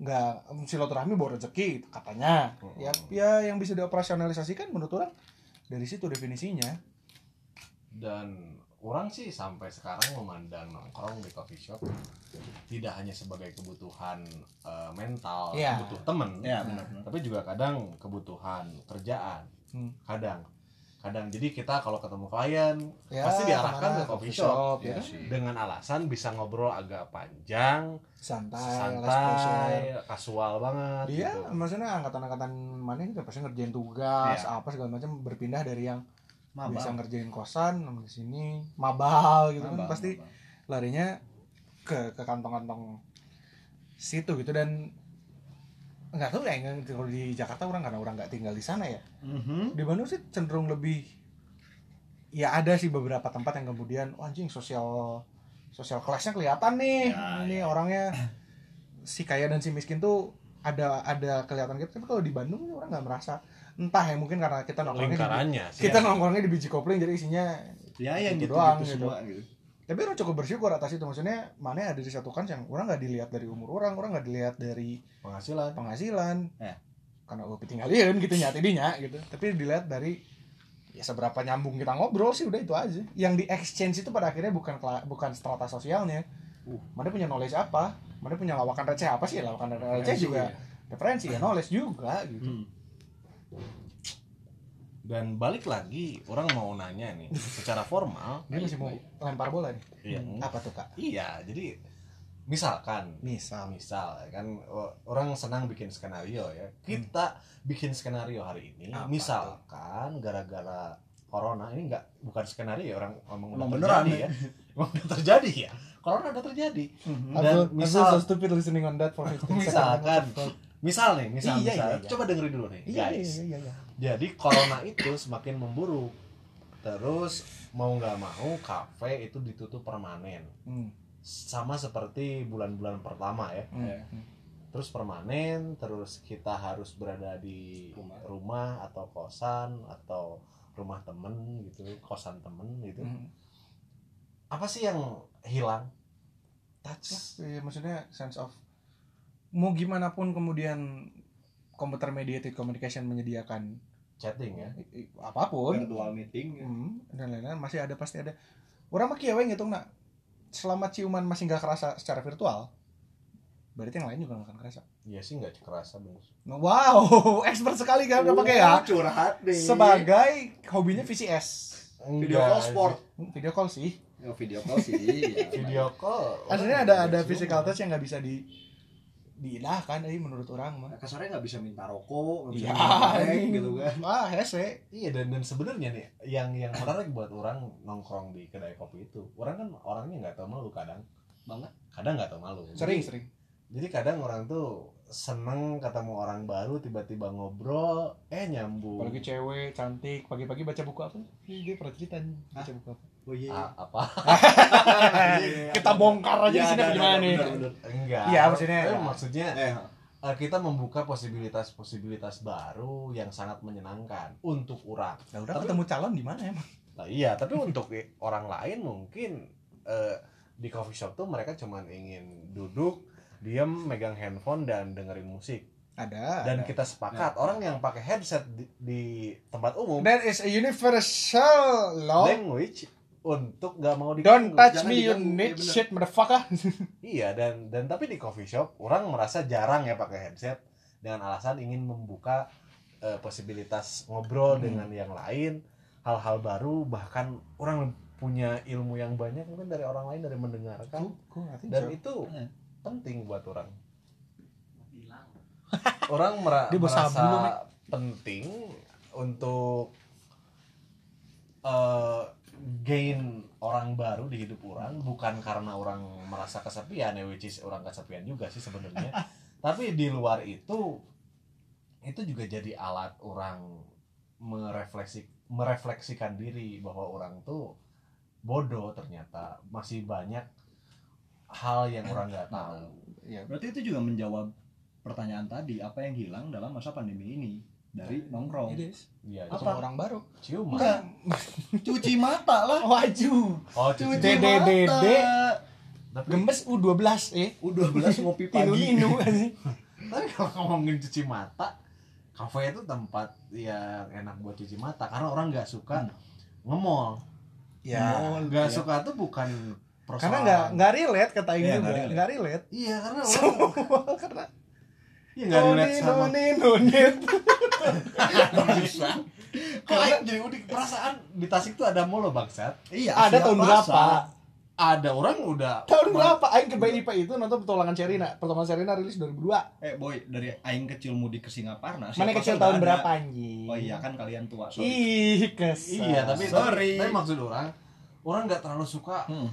Speaker 1: nggak silaturahmi bawa rezeki katanya
Speaker 2: Mm-mm.
Speaker 1: ya ya yang bisa dioperasionalisasikan menurut orang dari situ definisinya
Speaker 2: dan orang sih sampai sekarang memandang nongkrong di coffee shop tidak hanya sebagai kebutuhan eh, mental,
Speaker 1: Iya.
Speaker 2: butuh temen,
Speaker 3: ya benar benar.
Speaker 2: tapi juga kadang kebutuhan kerjaan,
Speaker 1: Hmm.
Speaker 2: kadang, kadang. Jadi kita kalau ketemu klien
Speaker 1: ya,
Speaker 2: pasti diarahkan
Speaker 1: kemana,
Speaker 2: ke coffee shop
Speaker 3: Iya
Speaker 1: ya kan?
Speaker 3: sih.
Speaker 2: dengan alasan bisa ngobrol agak panjang,
Speaker 1: santai, Iya, less pressure.
Speaker 2: santai, kasual banget.
Speaker 1: dia
Speaker 2: gitu.
Speaker 1: maksudnya angkatan-angkatan mana itu pasti ngerjain tugas apa segala macam berpindah dari yang
Speaker 3: Mabang.
Speaker 1: bisa ngerjain kosan sama di sini mabal gitu
Speaker 3: Mabang,
Speaker 1: kan pasti
Speaker 3: mabang.
Speaker 1: larinya ke ke kantong-kantong situ gitu dan nggak tahu ya nggak- kalau di Jakarta orang karena orang nggak tinggal di sana ya
Speaker 3: Mhm.
Speaker 1: di Bandung sih cenderung lebih ya ada sih beberapa tempat yang kemudian "Oh, anjing sosial sosial kelasnya kelihatan nih
Speaker 3: Ya,
Speaker 1: ini orangnya si kaya dan si miskin tuh ada ada kelihatan gitu tapi kalau di Bandung nih orang nggak merasa entah ya mungkin karena kita nongkrongnya di,
Speaker 2: lingkarannya sih. ya.
Speaker 1: kita nongkrongnya di biji kopling jadi isinya
Speaker 3: ya yang
Speaker 1: Gitu
Speaker 3: gitu,
Speaker 1: doang,
Speaker 3: gitu
Speaker 1: gitu.
Speaker 3: semua gitu
Speaker 1: tapi orang cukup bersyukur atas itu maksudnya mana ya ada disatukan yang orang nggak dilihat dari umur orang orang nggak dilihat dari
Speaker 2: penghasilan.
Speaker 1: penghasilan
Speaker 3: Ya.
Speaker 1: karena gue ketinggalan gitu nyati dinya gitu tapi dilihat dari ya seberapa nyambung kita ngobrol sih udah itu aja yang di exchange itu pada akhirnya bukan kela- bukan strata sosialnya
Speaker 3: Uh.
Speaker 1: mana punya knowledge apa mana punya lawakan receh ya apa sih
Speaker 3: Nah,
Speaker 1: lawakan
Speaker 3: iya.
Speaker 1: hmm, receh juga referensi ya knowledge juga gitu
Speaker 3: Hmm.
Speaker 2: Dan balik lagi, orang mau nanya nih, secara formal.
Speaker 1: Dia masih mau lempar bola nih. Hmm,
Speaker 2: Iya,
Speaker 1: Apa tuh kak?
Speaker 2: iya jadi misalkan
Speaker 1: Misal.
Speaker 2: misal ya kan o- orang senang bikin skenario ya kita bikin skenario hari ini
Speaker 1: Hmm. Apa
Speaker 2: misalkan gara-gara corona ini enggak bukan skenario ya orang emang udah
Speaker 3: Emang beneran.
Speaker 2: terjadi ya emang udah terjadi ya corona udah terjadi
Speaker 3: Mhm.
Speaker 1: I'm
Speaker 2: Dan
Speaker 1: so, I'm so-
Speaker 2: misal-
Speaker 1: so stupid listening on that for 15 seconds.
Speaker 2: Misalkan.
Speaker 1: What
Speaker 2: misal nih misal,
Speaker 1: Iya,
Speaker 2: misal.
Speaker 1: iya, iya.
Speaker 2: coba dengerin dulu nih
Speaker 1: the fuck? Iya,
Speaker 2: guys
Speaker 1: iya, iya, iya.
Speaker 2: jadi corona itu semakin memburuk terus mau nggak mau kafe itu ditutup permanen
Speaker 1: Hmm,
Speaker 2: sama seperti bulan-bulan pertama ya
Speaker 1: hmm,
Speaker 3: Iya.
Speaker 1: hmm.
Speaker 2: terus permanen terus kita harus berada di rumah,
Speaker 3: Rumah.
Speaker 2: atau kosan atau rumah temen gitu kosan temen gitu
Speaker 1: Hmm.
Speaker 2: apa sih yang hilang
Speaker 1: touch lah Iya, maksudnya sense of mau gimana pun kemudian computer mediated communication menyediakan
Speaker 2: chatting ya
Speaker 1: i- i- apapun
Speaker 4: virtual meeting
Speaker 1: Hmm, dan lain-lain masih ada pasti ada orang mah kieweng gitu nak selama ciuman masih nggak kerasa secara virtual berarti yang lain juga nggak akan kerasa
Speaker 2: iya sih nggak kerasa bener
Speaker 1: Nah, wow expert sekali kan udah pakai ya
Speaker 4: curhat nih
Speaker 1: sebagai hobinya VCS
Speaker 4: video call sport
Speaker 1: Hmm, video call sih Iya,
Speaker 4: ya, video call sih ya.
Speaker 2: video call
Speaker 1: aslinya ada ada
Speaker 2: Zoom.
Speaker 1: physical touch yang nggak bisa di diindahkan eh, menurut orang mah
Speaker 4: Nah, kasarnya nggak bisa minta rokok nggak bisa
Speaker 1: Iya,
Speaker 4: minta cek,
Speaker 1: anjing.
Speaker 4: gitu kan
Speaker 1: ah hese
Speaker 2: Iya dan dan sebenarnya nih yang yang menarik buat orang nongkrong di kedai kopi itu, orang kan orangnya nggak tahu malu kadang.
Speaker 4: Banget.
Speaker 2: Kadang nggak tahu malu.
Speaker 1: sering
Speaker 2: Jadi,
Speaker 1: sering
Speaker 2: jadi kadang orang tuh seneng ketemu orang baru tiba-tiba ngobrol eh nyambung
Speaker 1: apalagi cewek cantik pagi-pagi baca buku apa Ih, dia pernah cerita nih, baca buku apa
Speaker 4: oh iya
Speaker 2: A- apa
Speaker 3: Ya,
Speaker 4: Iya,
Speaker 1: kita
Speaker 4: ada. Iya,
Speaker 1: bongkar aja di sini
Speaker 4: ada,
Speaker 1: gimana
Speaker 4: ada,
Speaker 1: nih
Speaker 4: bener, bener.
Speaker 2: enggak
Speaker 1: Iya, maksudnya-
Speaker 2: Eh, maksudnya
Speaker 4: eh
Speaker 2: eh, kita membuka posibilitas-posibilitas baru yang sangat menyenangkan untuk orang
Speaker 1: nah, udah ketemu calon di mana emang
Speaker 2: Nah, iya, tapi untuk i- orang lain mungkin eh, di coffee shop tuh mereka cuman ingin duduk, diam, megang handphone dan dengerin musik.
Speaker 1: ada
Speaker 2: Dan
Speaker 1: ada.
Speaker 2: kita sepakat orang yang pakai headset di, di tempat umum
Speaker 1: that is a universal law
Speaker 2: language untuk nggak mau di
Speaker 1: don't touch
Speaker 4: Jangan
Speaker 1: me you
Speaker 4: diganggu. Iya,
Speaker 1: need
Speaker 4: bener.
Speaker 1: shit motherfucker
Speaker 2: Iya, dan dan tapi di coffee shop orang merasa jarang ya pakai headset dengan alasan ingin membuka eh, posibilitas ngobrol
Speaker 1: Hmm.
Speaker 2: dengan yang lain, hal-hal baru bahkan orang punya ilmu yang banyak mungkin dari orang lain dari mendengarkan.
Speaker 1: Gua nggak tahu.
Speaker 2: dan itu
Speaker 3: Iya.
Speaker 2: penting buat orang
Speaker 4: hilang
Speaker 2: orang mera-
Speaker 1: Dia
Speaker 2: merasa
Speaker 1: bos sabu loh, Mek.
Speaker 2: penting untuk eh, gain orang baru di hidup orang bukan karena orang merasa kesepian ya which is orang kesepian juga sih sebenarnya tapi di luar itu itu juga jadi alat orang merefleksi merefleksikan diri bahwa orang tuh bodoh ternyata masih banyak hal yang orang nggak tahu
Speaker 1: Iya.
Speaker 3: Berarti itu juga menjawab pertanyaan tadi, apa yang hilang dalam masa pandemi ini dari nongkrong?
Speaker 1: It is.
Speaker 2: Iya, itu
Speaker 1: Ketemu orang baru
Speaker 2: ciuman.
Speaker 3: Enggak. Cuci mata lah.
Speaker 1: waju
Speaker 2: Oh, cuci.
Speaker 3: Cuci
Speaker 1: Dede,
Speaker 3: mata.
Speaker 1: dede.
Speaker 2: Tapi, kan,
Speaker 1: gembes u12 eh
Speaker 3: U12 ngopi
Speaker 1: inu
Speaker 3: pagi.
Speaker 1: inu anjing.
Speaker 2: tapi kalau ngomongin cuci mata, kafe itu tempat yang enak buat cuci mata karena orang nggak suka
Speaker 3: Kan?
Speaker 2: ngemol.
Speaker 1: Hmm. ya
Speaker 2: Ngemol, nggak
Speaker 3: Iya.
Speaker 2: suka tuh bukan persoalan.
Speaker 1: karena nggak nggak relate kata ini
Speaker 3: Iya,
Speaker 1: juga
Speaker 3: nggak relate.
Speaker 1: nggak relate
Speaker 2: Iya, karena orang
Speaker 1: semua karena
Speaker 2: iya nggak relate
Speaker 1: Noni,
Speaker 2: sama.
Speaker 1: noni, noni.
Speaker 2: Kok aing jadi udik perasaan di Tasik tuh ada mall loh bangsat.
Speaker 3: Iya,
Speaker 1: ada
Speaker 3: siap
Speaker 1: tahun
Speaker 3: masa.
Speaker 1: berapa
Speaker 2: Ada orang udah
Speaker 1: tahun berapa aing ke BIP itu nonton petualangan Sherina pertama Sherina rilis 2002
Speaker 3: Eh boy, dari aing kecil mudik ke Singaparna.
Speaker 1: mana
Speaker 3: siapa
Speaker 1: kecil
Speaker 3: tahu
Speaker 1: tahun
Speaker 3: ada.
Speaker 1: berapa anjing
Speaker 3: Oh iya kan kalian tua. Sorry.
Speaker 1: ih kesel
Speaker 2: Iya, tapi
Speaker 3: Sorry.
Speaker 2: tapi, tapi maksud orang orang nggak terlalu suka
Speaker 3: Hmm.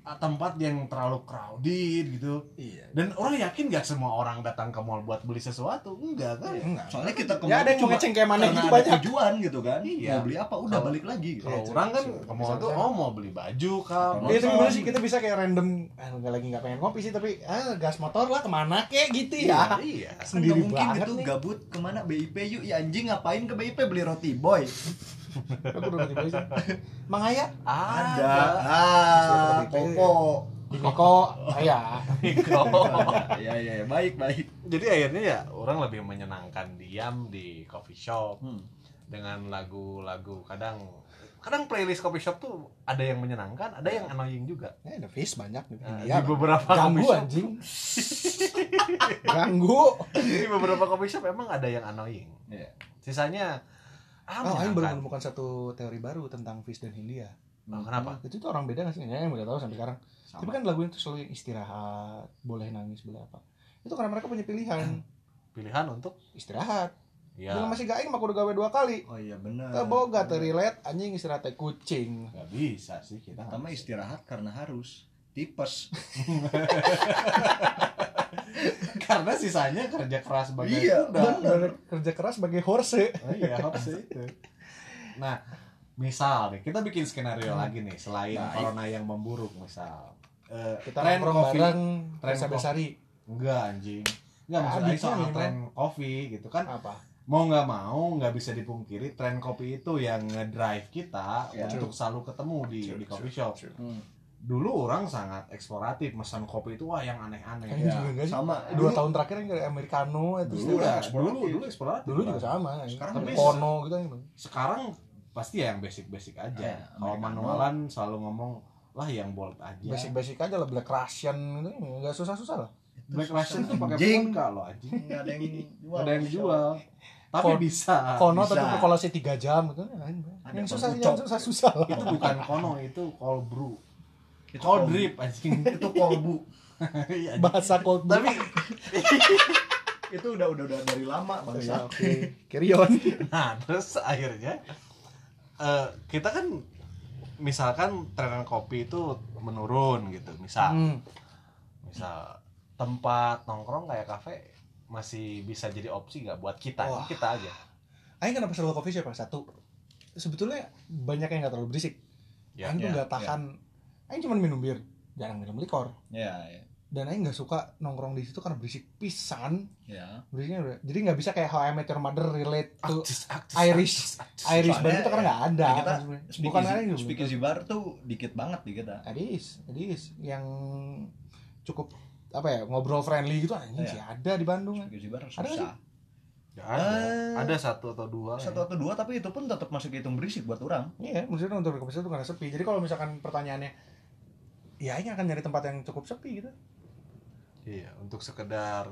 Speaker 2: ah, tempat yang terlalu crowded gitu.
Speaker 1: iya
Speaker 2: Dan orang yakin gak semua orang datang ke mall buat beli sesuatu? Enggak kan?
Speaker 1: enggak
Speaker 3: Soalnya kita
Speaker 1: ya ada yang mau
Speaker 3: cuma
Speaker 1: ngeceng kayak mana
Speaker 3: karena
Speaker 1: gitu
Speaker 3: ada
Speaker 1: banyak
Speaker 3: tujuan gitu kan.
Speaker 2: Iya.
Speaker 3: Mau beli apa udah
Speaker 2: Kalau-
Speaker 3: balik lagi. gitu.
Speaker 2: Kalau
Speaker 1: Iya,
Speaker 2: orang kan
Speaker 1: cuman-
Speaker 2: ke mall tuh
Speaker 1: misalkan-
Speaker 2: oh mau beli baju kah, mau
Speaker 1: Iya tapi bener
Speaker 2: nonton.
Speaker 1: sih kita bisa kayak random ah, nggak lagi nggak pengen ngopi sih tapi ah gas motor lah kemana kek gitu
Speaker 2: Iya,
Speaker 1: ya
Speaker 2: iya.
Speaker 3: Kan nggak
Speaker 1: sendiri
Speaker 3: mungkin
Speaker 1: banget
Speaker 3: gitu
Speaker 1: nih.
Speaker 3: gabut kemana BIP yuk ya anjing ngapain ke BIP beli roti boy
Speaker 1: aku udah tiba sih Mang Aya
Speaker 3: ada ah
Speaker 1: Terus roti BIP.
Speaker 3: koko
Speaker 1: di Niko Ah, iya. Aya
Speaker 3: ya ya ya baik baik
Speaker 2: Jadi akhirnya ya orang lebih menyenangkan diam di coffee shop
Speaker 3: Hmm.
Speaker 2: dengan lagu-lagu kadang kadang playlist coffee shop tuh ada yang menyenangkan, ada yang annoying juga.
Speaker 1: Eh, ada face banyak gitu.
Speaker 2: Nah,
Speaker 1: Iya,
Speaker 2: di beberapa
Speaker 1: ganggu
Speaker 2: coffee shop,
Speaker 1: anjing. ganggu.
Speaker 2: di beberapa coffee shop emang ada yang annoying.
Speaker 3: Iya.
Speaker 2: Sisanya ah,
Speaker 1: Oh, Aing baru
Speaker 2: menyenangkan.
Speaker 1: menemukan satu teori baru tentang Fish dan Hindia.
Speaker 2: Oh, kenapa?
Speaker 1: Itu tuh orang beda nggak sih? Ya, yang udah tahu sampai sekarang.
Speaker 3: Sama.
Speaker 1: Tapi kan lagunya tuh selalu yang istirahat, boleh nangis, boleh apa. Itu karena mereka punya pilihan
Speaker 2: Pilihan untuk
Speaker 1: istirahat.
Speaker 2: ya Ah,
Speaker 1: Dengan masih gaing mah kudu gawe dua kali.
Speaker 3: Oh iya benar.
Speaker 1: Keboga terlilet anjing istirahat teh kucing.
Speaker 2: nggak bisa sih kita. nggak
Speaker 3: Pertama
Speaker 2: bisa.
Speaker 3: istirahat karena harus tipes.
Speaker 2: karena sisanya kerja keras banget.
Speaker 1: Dan, dan kerja keras sebagai horse.
Speaker 2: Oh iya, hoax itu. Nah, misal nih, kita bikin skenario lagi nih selain
Speaker 3: Baik.
Speaker 2: corona yang memburuk misal. Eh,
Speaker 1: Kita
Speaker 2: tren
Speaker 1: nongkrong
Speaker 2: covid
Speaker 1: bareng
Speaker 2: Tren
Speaker 1: Reza Besari
Speaker 2: enggak anjing. Enggak
Speaker 1: Ah,
Speaker 2: maksudnya
Speaker 1: bikin
Speaker 2: soal
Speaker 1: minimal.
Speaker 2: tren kopi gitu kan.
Speaker 1: apa?
Speaker 2: Mau nggak mau nggak bisa dipungkiri tren kopi itu yang ngedrive kita
Speaker 3: Ya.
Speaker 2: untuk selalu ketemu di
Speaker 3: True,
Speaker 2: di
Speaker 3: true,
Speaker 2: coffee shop.
Speaker 3: Iya. Hmm.
Speaker 2: Dulu orang sangat eksploratif mesan kopi itu wah yang aneh-aneh.
Speaker 3: Iya,
Speaker 1: Kayaknya juga enggak
Speaker 3: Ya,
Speaker 1: sih.
Speaker 3: Sama.
Speaker 1: Dua
Speaker 3: Dulu-
Speaker 1: tahun terakhir yang kayak americano itu
Speaker 3: Dulu
Speaker 1: setiap-
Speaker 3: lah.
Speaker 2: Iya, dulu dulu eksploratif.
Speaker 1: Dulu juga
Speaker 2: Bang.
Speaker 1: sama.
Speaker 3: Sekarang
Speaker 1: tapi
Speaker 2: lebih-
Speaker 1: porno gitu yang
Speaker 2: Iya. sekarang pasti ya yang basic-basic
Speaker 3: Ah,
Speaker 2: aja.
Speaker 3: ya,
Speaker 2: Kalau
Speaker 3: Americano.
Speaker 2: manualan selalu ngomong lah yang bold aja.
Speaker 1: basic-basic aja lah Black Russian gitu enggak susah-susah lah.
Speaker 2: Black Russian tuh pakai
Speaker 3: Anjing.
Speaker 2: vodka loh anjing.
Speaker 3: Nggak ada yang jual.
Speaker 2: Ada yang jual. Tapi
Speaker 1: Kon-
Speaker 2: bisa.
Speaker 3: Ah,
Speaker 1: Kono
Speaker 3: bisa.
Speaker 1: tapi berkolasi 3 jam gitu. Yang susah yang
Speaker 3: ucok.
Speaker 1: susah susah lah.
Speaker 3: Gitu.
Speaker 2: Itu bukan kono, itu cold brew.
Speaker 3: Itu
Speaker 2: cold
Speaker 3: cold
Speaker 2: drip anjing.
Speaker 3: Itu kolbu.
Speaker 2: Iya, anjing.
Speaker 1: Bahasa cold brew.
Speaker 2: Tapi
Speaker 3: itu udah udah udah dari lama bangsa.
Speaker 1: Bahasa- Ya, Oke, carry on.
Speaker 2: nah, terus akhirnya eh, kita kan misalkan tren kopi itu menurun gitu.
Speaker 3: Nah.
Speaker 2: Misal
Speaker 1: Hmm.
Speaker 2: misal tempat nongkrong kayak kafe masih bisa jadi opsi nggak buat kita
Speaker 1: Wah.
Speaker 2: kita aja
Speaker 1: Aing kenapa selalu coffee shop yang satu? Sebetulnya banyak yang nggak terlalu berisik.
Speaker 2: Ya,
Speaker 1: Aing tuh
Speaker 3: ya,
Speaker 1: nggak tahan. Aing cuma minum bir, jarang minum likor.
Speaker 3: Iya, iya.
Speaker 1: Dan Aing nggak suka nongkrong di situ karena berisik pisan.
Speaker 3: Ya.
Speaker 1: Berisiknya udah. Jadi nggak bisa kayak How I Met Your Mother relate to
Speaker 2: Aktis, aktis,
Speaker 1: Irish.
Speaker 2: aktis, aktis.
Speaker 3: Ah,
Speaker 1: Irish
Speaker 3: Soalnya,
Speaker 1: band itu karena nggak ada.
Speaker 3: ya kita
Speaker 1: Bukan
Speaker 3: Speakeasy-
Speaker 1: Irish juga.
Speaker 3: Speakeasy bar tuh dikit banget di kita.
Speaker 1: It is, it is. Yang cukup apa ya ngobrol friendly gitu anjing
Speaker 3: Iya.
Speaker 1: sih ada di Bandung.
Speaker 3: Speakeasy bar
Speaker 1: Ada nggak
Speaker 3: susah.
Speaker 2: Ya, ada.
Speaker 3: Eh.
Speaker 2: ada satu atau dua lah ya.
Speaker 3: Satu atau dua tapi itu pun tetap masuk hitung berisik buat orang.
Speaker 1: Iya, maksudnya untuk ke itu karena sepi. Jadi kalau misalkan pertanyaannya ya ini akan nyari tempat yang cukup sepi gitu.
Speaker 2: ya. iya untuk sekedar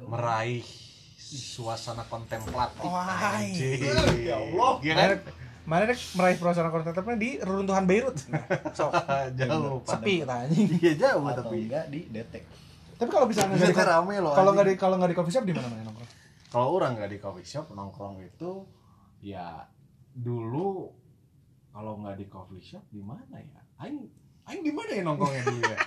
Speaker 2: meraih suasana kontemplatif
Speaker 1: Wah,
Speaker 2: anjing.
Speaker 3: ya Allah.
Speaker 2: Iya kan?
Speaker 1: Mana dek meraih suasana kontemplatifnya di reruntuhan Beirut. Oh, Nah, so,
Speaker 2: jauh Pak.
Speaker 1: sepi kita anjing.
Speaker 2: iya jauh
Speaker 3: Atau
Speaker 2: tapi
Speaker 3: enggak di detek.
Speaker 1: Tapi kalau misalnya nggak di-
Speaker 2: Biasanya rame loh
Speaker 1: kalau
Speaker 2: anjing.
Speaker 1: nggak di kalau nggak di coffee shop di mana mana nongkrong?
Speaker 2: kalau orang nggak di coffee shop nongkrong itu ya dulu kalau nggak di coffee shop di mana ya aing aing di mana ya nongkrongnya dulu ya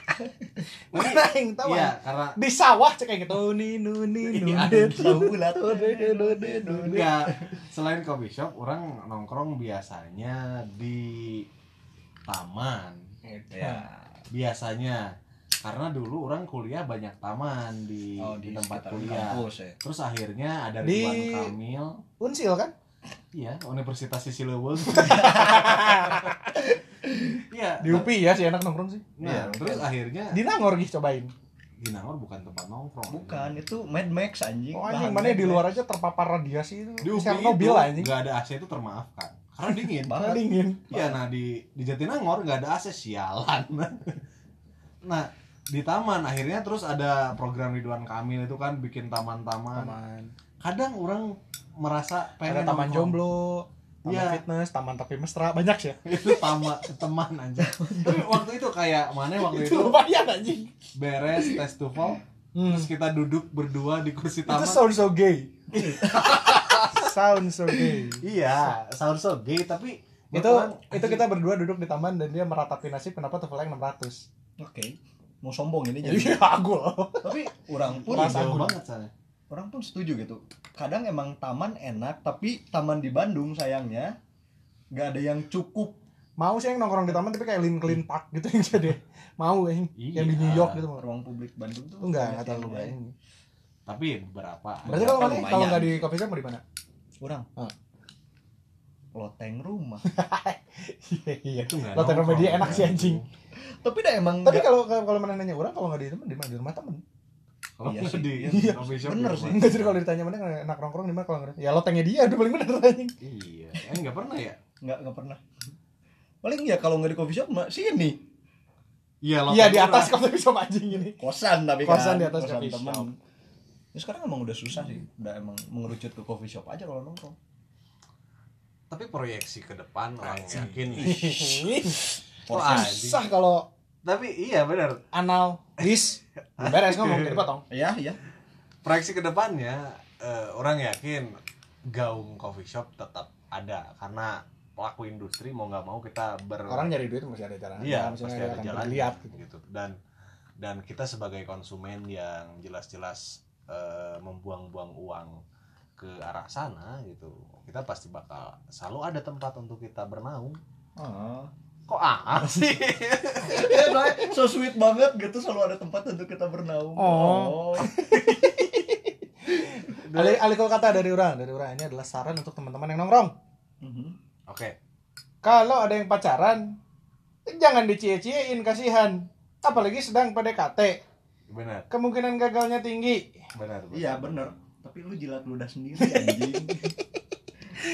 Speaker 1: Mana yang tahu?
Speaker 2: iya
Speaker 1: anjing?
Speaker 2: karena
Speaker 1: Di sawah cek kayak gitu. Ninu ninu.
Speaker 2: Iya,
Speaker 3: Bulat. Iya.
Speaker 2: nggak selain coffee shop orang nongkrong biasanya di taman
Speaker 1: Ya.
Speaker 3: Ya.
Speaker 2: biasanya karena dulu orang kuliah banyak taman di,
Speaker 3: Oh,
Speaker 2: di tempat
Speaker 3: sekitar
Speaker 2: kuliah
Speaker 3: kampus ya.
Speaker 2: terus akhirnya ada
Speaker 1: Di-
Speaker 2: Ridwan Kamil
Speaker 1: Unsil kan?
Speaker 2: Iya, Universitas Sisi Lewus. Iya.
Speaker 1: Di UPI ya sih enak nongkrong sih.
Speaker 2: Nah,
Speaker 3: Iya,
Speaker 2: terus
Speaker 3: kan.
Speaker 2: akhirnya
Speaker 1: Di Nangor gitu cobain.
Speaker 2: di Nangor bukan tempat nongkrong.
Speaker 3: Bukan, itu Mad Max anjing.
Speaker 1: Oh
Speaker 3: Bahan
Speaker 1: anjing mana
Speaker 3: Mad
Speaker 1: di
Speaker 3: Max.
Speaker 1: luar aja terpapar radiasi itu.
Speaker 2: Di UPI
Speaker 1: Chernobyl
Speaker 2: itu
Speaker 1: anjing.
Speaker 2: nggak ada AC itu termaafkan. Karena dingin.
Speaker 1: Karena
Speaker 3: banget.
Speaker 1: dingin.
Speaker 2: Iya, nah di di Jatinangor nggak ada AC sialan. nah, di taman akhirnya terus ada program Ridwan Kamil itu kan bikin taman-taman.
Speaker 1: Taman.
Speaker 2: Kadang orang merasa
Speaker 1: Ada
Speaker 2: pengen
Speaker 1: taman
Speaker 2: nongkrong.
Speaker 1: jomblo. Taman
Speaker 2: Iya.
Speaker 1: fitness, taman tapi mesra banyak sih. ya.
Speaker 2: itu taman teman aja. Tapi waktu itu kayak mana waktu
Speaker 1: Itu
Speaker 2: itu
Speaker 1: lumayan anjing.
Speaker 2: beres tes TOEFL
Speaker 1: Hmm.
Speaker 2: terus kita duduk berdua di kursi
Speaker 1: Itu
Speaker 2: taman
Speaker 1: sound so gay. sound so gay.
Speaker 2: iya sound so gay tapi
Speaker 1: Itu itu kita berdua duduk di taman dan dia meratapi nasib kenapa TOEFL-nya 600.
Speaker 3: Oke. Mau sombong ini jadi.
Speaker 1: Iya, gua.
Speaker 3: Tapi orang pun
Speaker 1: Merasa
Speaker 2: jauh
Speaker 1: gua.
Speaker 2: banget sana
Speaker 3: orang pun setuju gitu. Kadang emang taman enak, tapi taman di Bandung sayangnya nggak ada yang cukup.
Speaker 1: Mau sih yang nongkrong di taman tapi kayak Lin Clean Park gitu yang jadi. Mau yang yang di New York gitu mau.
Speaker 3: Ruang publik Bandung tuh banyak
Speaker 1: Enggak, enggak tahu
Speaker 3: yang
Speaker 1: gua.
Speaker 3: lain.
Speaker 2: tapi beberapa
Speaker 1: Berarti kalau
Speaker 3: Kan
Speaker 1: mana
Speaker 3: iya. lumayan.
Speaker 1: kalau nggak di coffee shop mau di mana?
Speaker 3: Orang.
Speaker 1: Ah.
Speaker 3: Loteng rumah.
Speaker 1: Iya, iya.
Speaker 2: itu nggak
Speaker 1: Lo
Speaker 2: nongkrong,
Speaker 1: terima dia enak
Speaker 2: kan?
Speaker 1: sih, anjing.
Speaker 3: tapi dah emang
Speaker 1: Tapi
Speaker 3: nggak-
Speaker 1: kalau kalau kalau mana nanya orang kalau nggak di teman di mana di rumah temen.
Speaker 2: kalau
Speaker 3: Iya
Speaker 2: nggak
Speaker 3: sih,
Speaker 2: di
Speaker 1: iya.
Speaker 2: coffee shop gitu kan.
Speaker 3: Bener
Speaker 2: di
Speaker 3: sih.
Speaker 2: rumah.
Speaker 1: Enggak jadi kalau ditanya mana enak nongkrong di mana kalau nggak ada. Ya lo tanya dia udah paling bener anjing.
Speaker 2: iya eh nggak pernah ya
Speaker 1: kan-
Speaker 3: nggak nggak pernah. Paling ya kalau nggak di coffee shop mah sini.
Speaker 2: iya lo
Speaker 1: Iya di
Speaker 2: pernah.
Speaker 1: atas coffee shop anjing ini.
Speaker 3: Kosan tapi kan.
Speaker 1: Kosan di atas coffee
Speaker 3: temen.
Speaker 1: shop.
Speaker 3: Ya sekarang emang udah susah sih. Udah emang mengerucut ke coffee shop aja kalau nongkrong.
Speaker 2: tapi proyeksi ke depan orang
Speaker 1: Anjing.
Speaker 2: yakin Kok anjing?
Speaker 1: susah kalau
Speaker 2: tapi iya benar
Speaker 1: anal dis belum beres ngomong jadi potong
Speaker 3: Iya, iya.
Speaker 2: proyeksi ke depannya eh, orang yakin gaung coffee shop tetap ada karena pelaku industri mau nggak mau kita ber
Speaker 1: orang nyari duit masih ada jalan
Speaker 2: Iya,
Speaker 1: Misalnya
Speaker 2: pasti
Speaker 1: dia
Speaker 2: ada
Speaker 1: akan
Speaker 2: jalan
Speaker 1: lihat
Speaker 2: gitu. Dan dan kita sebagai konsumen yang jelas-jelas eh, membuang-buang uang ke arah sana gitu, kita pasti bakal selalu ada tempat untuk kita bernaung. Kok ah sih?
Speaker 3: Ya, Bray, so sweet banget gitu selalu ada tempat untuk kita bernaung.
Speaker 1: Oh. alih alih kalau kata dari orang dari orang ini adalah saran untuk teman-teman yang nongkrong
Speaker 3: Mhm.
Speaker 2: Oke,
Speaker 1: kalau ada yang pacaran jangan dicie-ciein kasihan apalagi sedang PDKT
Speaker 2: benar,
Speaker 1: kemungkinan gagalnya tinggi
Speaker 2: benar. benar.
Speaker 3: Iya, bener. Tapi lu jilat ludah sendiri anjing.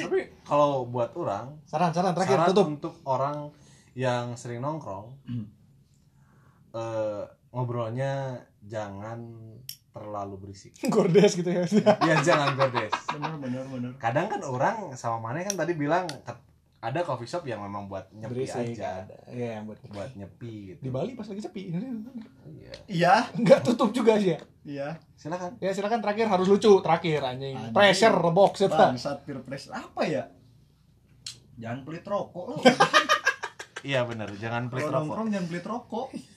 Speaker 2: Tapi kalau buat orang,
Speaker 1: saran saran terakhir
Speaker 2: saran
Speaker 1: tutup
Speaker 2: untuk orang yang sering nongkrong
Speaker 3: Hmm.
Speaker 2: eh, ngobrolnya jangan terlalu berisik.
Speaker 1: gordes gitu ya
Speaker 2: Ya jangan berdes.
Speaker 3: bener, bener, bener.
Speaker 2: kadang kan orang sama Mane kan tadi bilang ke- ada coffee shop yang memang buat nyepi
Speaker 1: Berisik,
Speaker 2: aja
Speaker 1: ada. iya yang buat
Speaker 2: buat nyepi gitu
Speaker 1: di Bali pas lagi sepi
Speaker 2: iya
Speaker 3: Iya,
Speaker 1: nggak tutup juga sih ya
Speaker 3: iya.
Speaker 2: silakan
Speaker 1: ya silakan terakhir harus lucu terakhir anjing
Speaker 3: Anjing.
Speaker 1: pressure rebok serta
Speaker 3: Bangsat peer pressure apa ya? Jangan pelit rokok lo.
Speaker 2: iya benar jangan pelit rokok
Speaker 3: Kalau nongkrong jangan pelit rokok.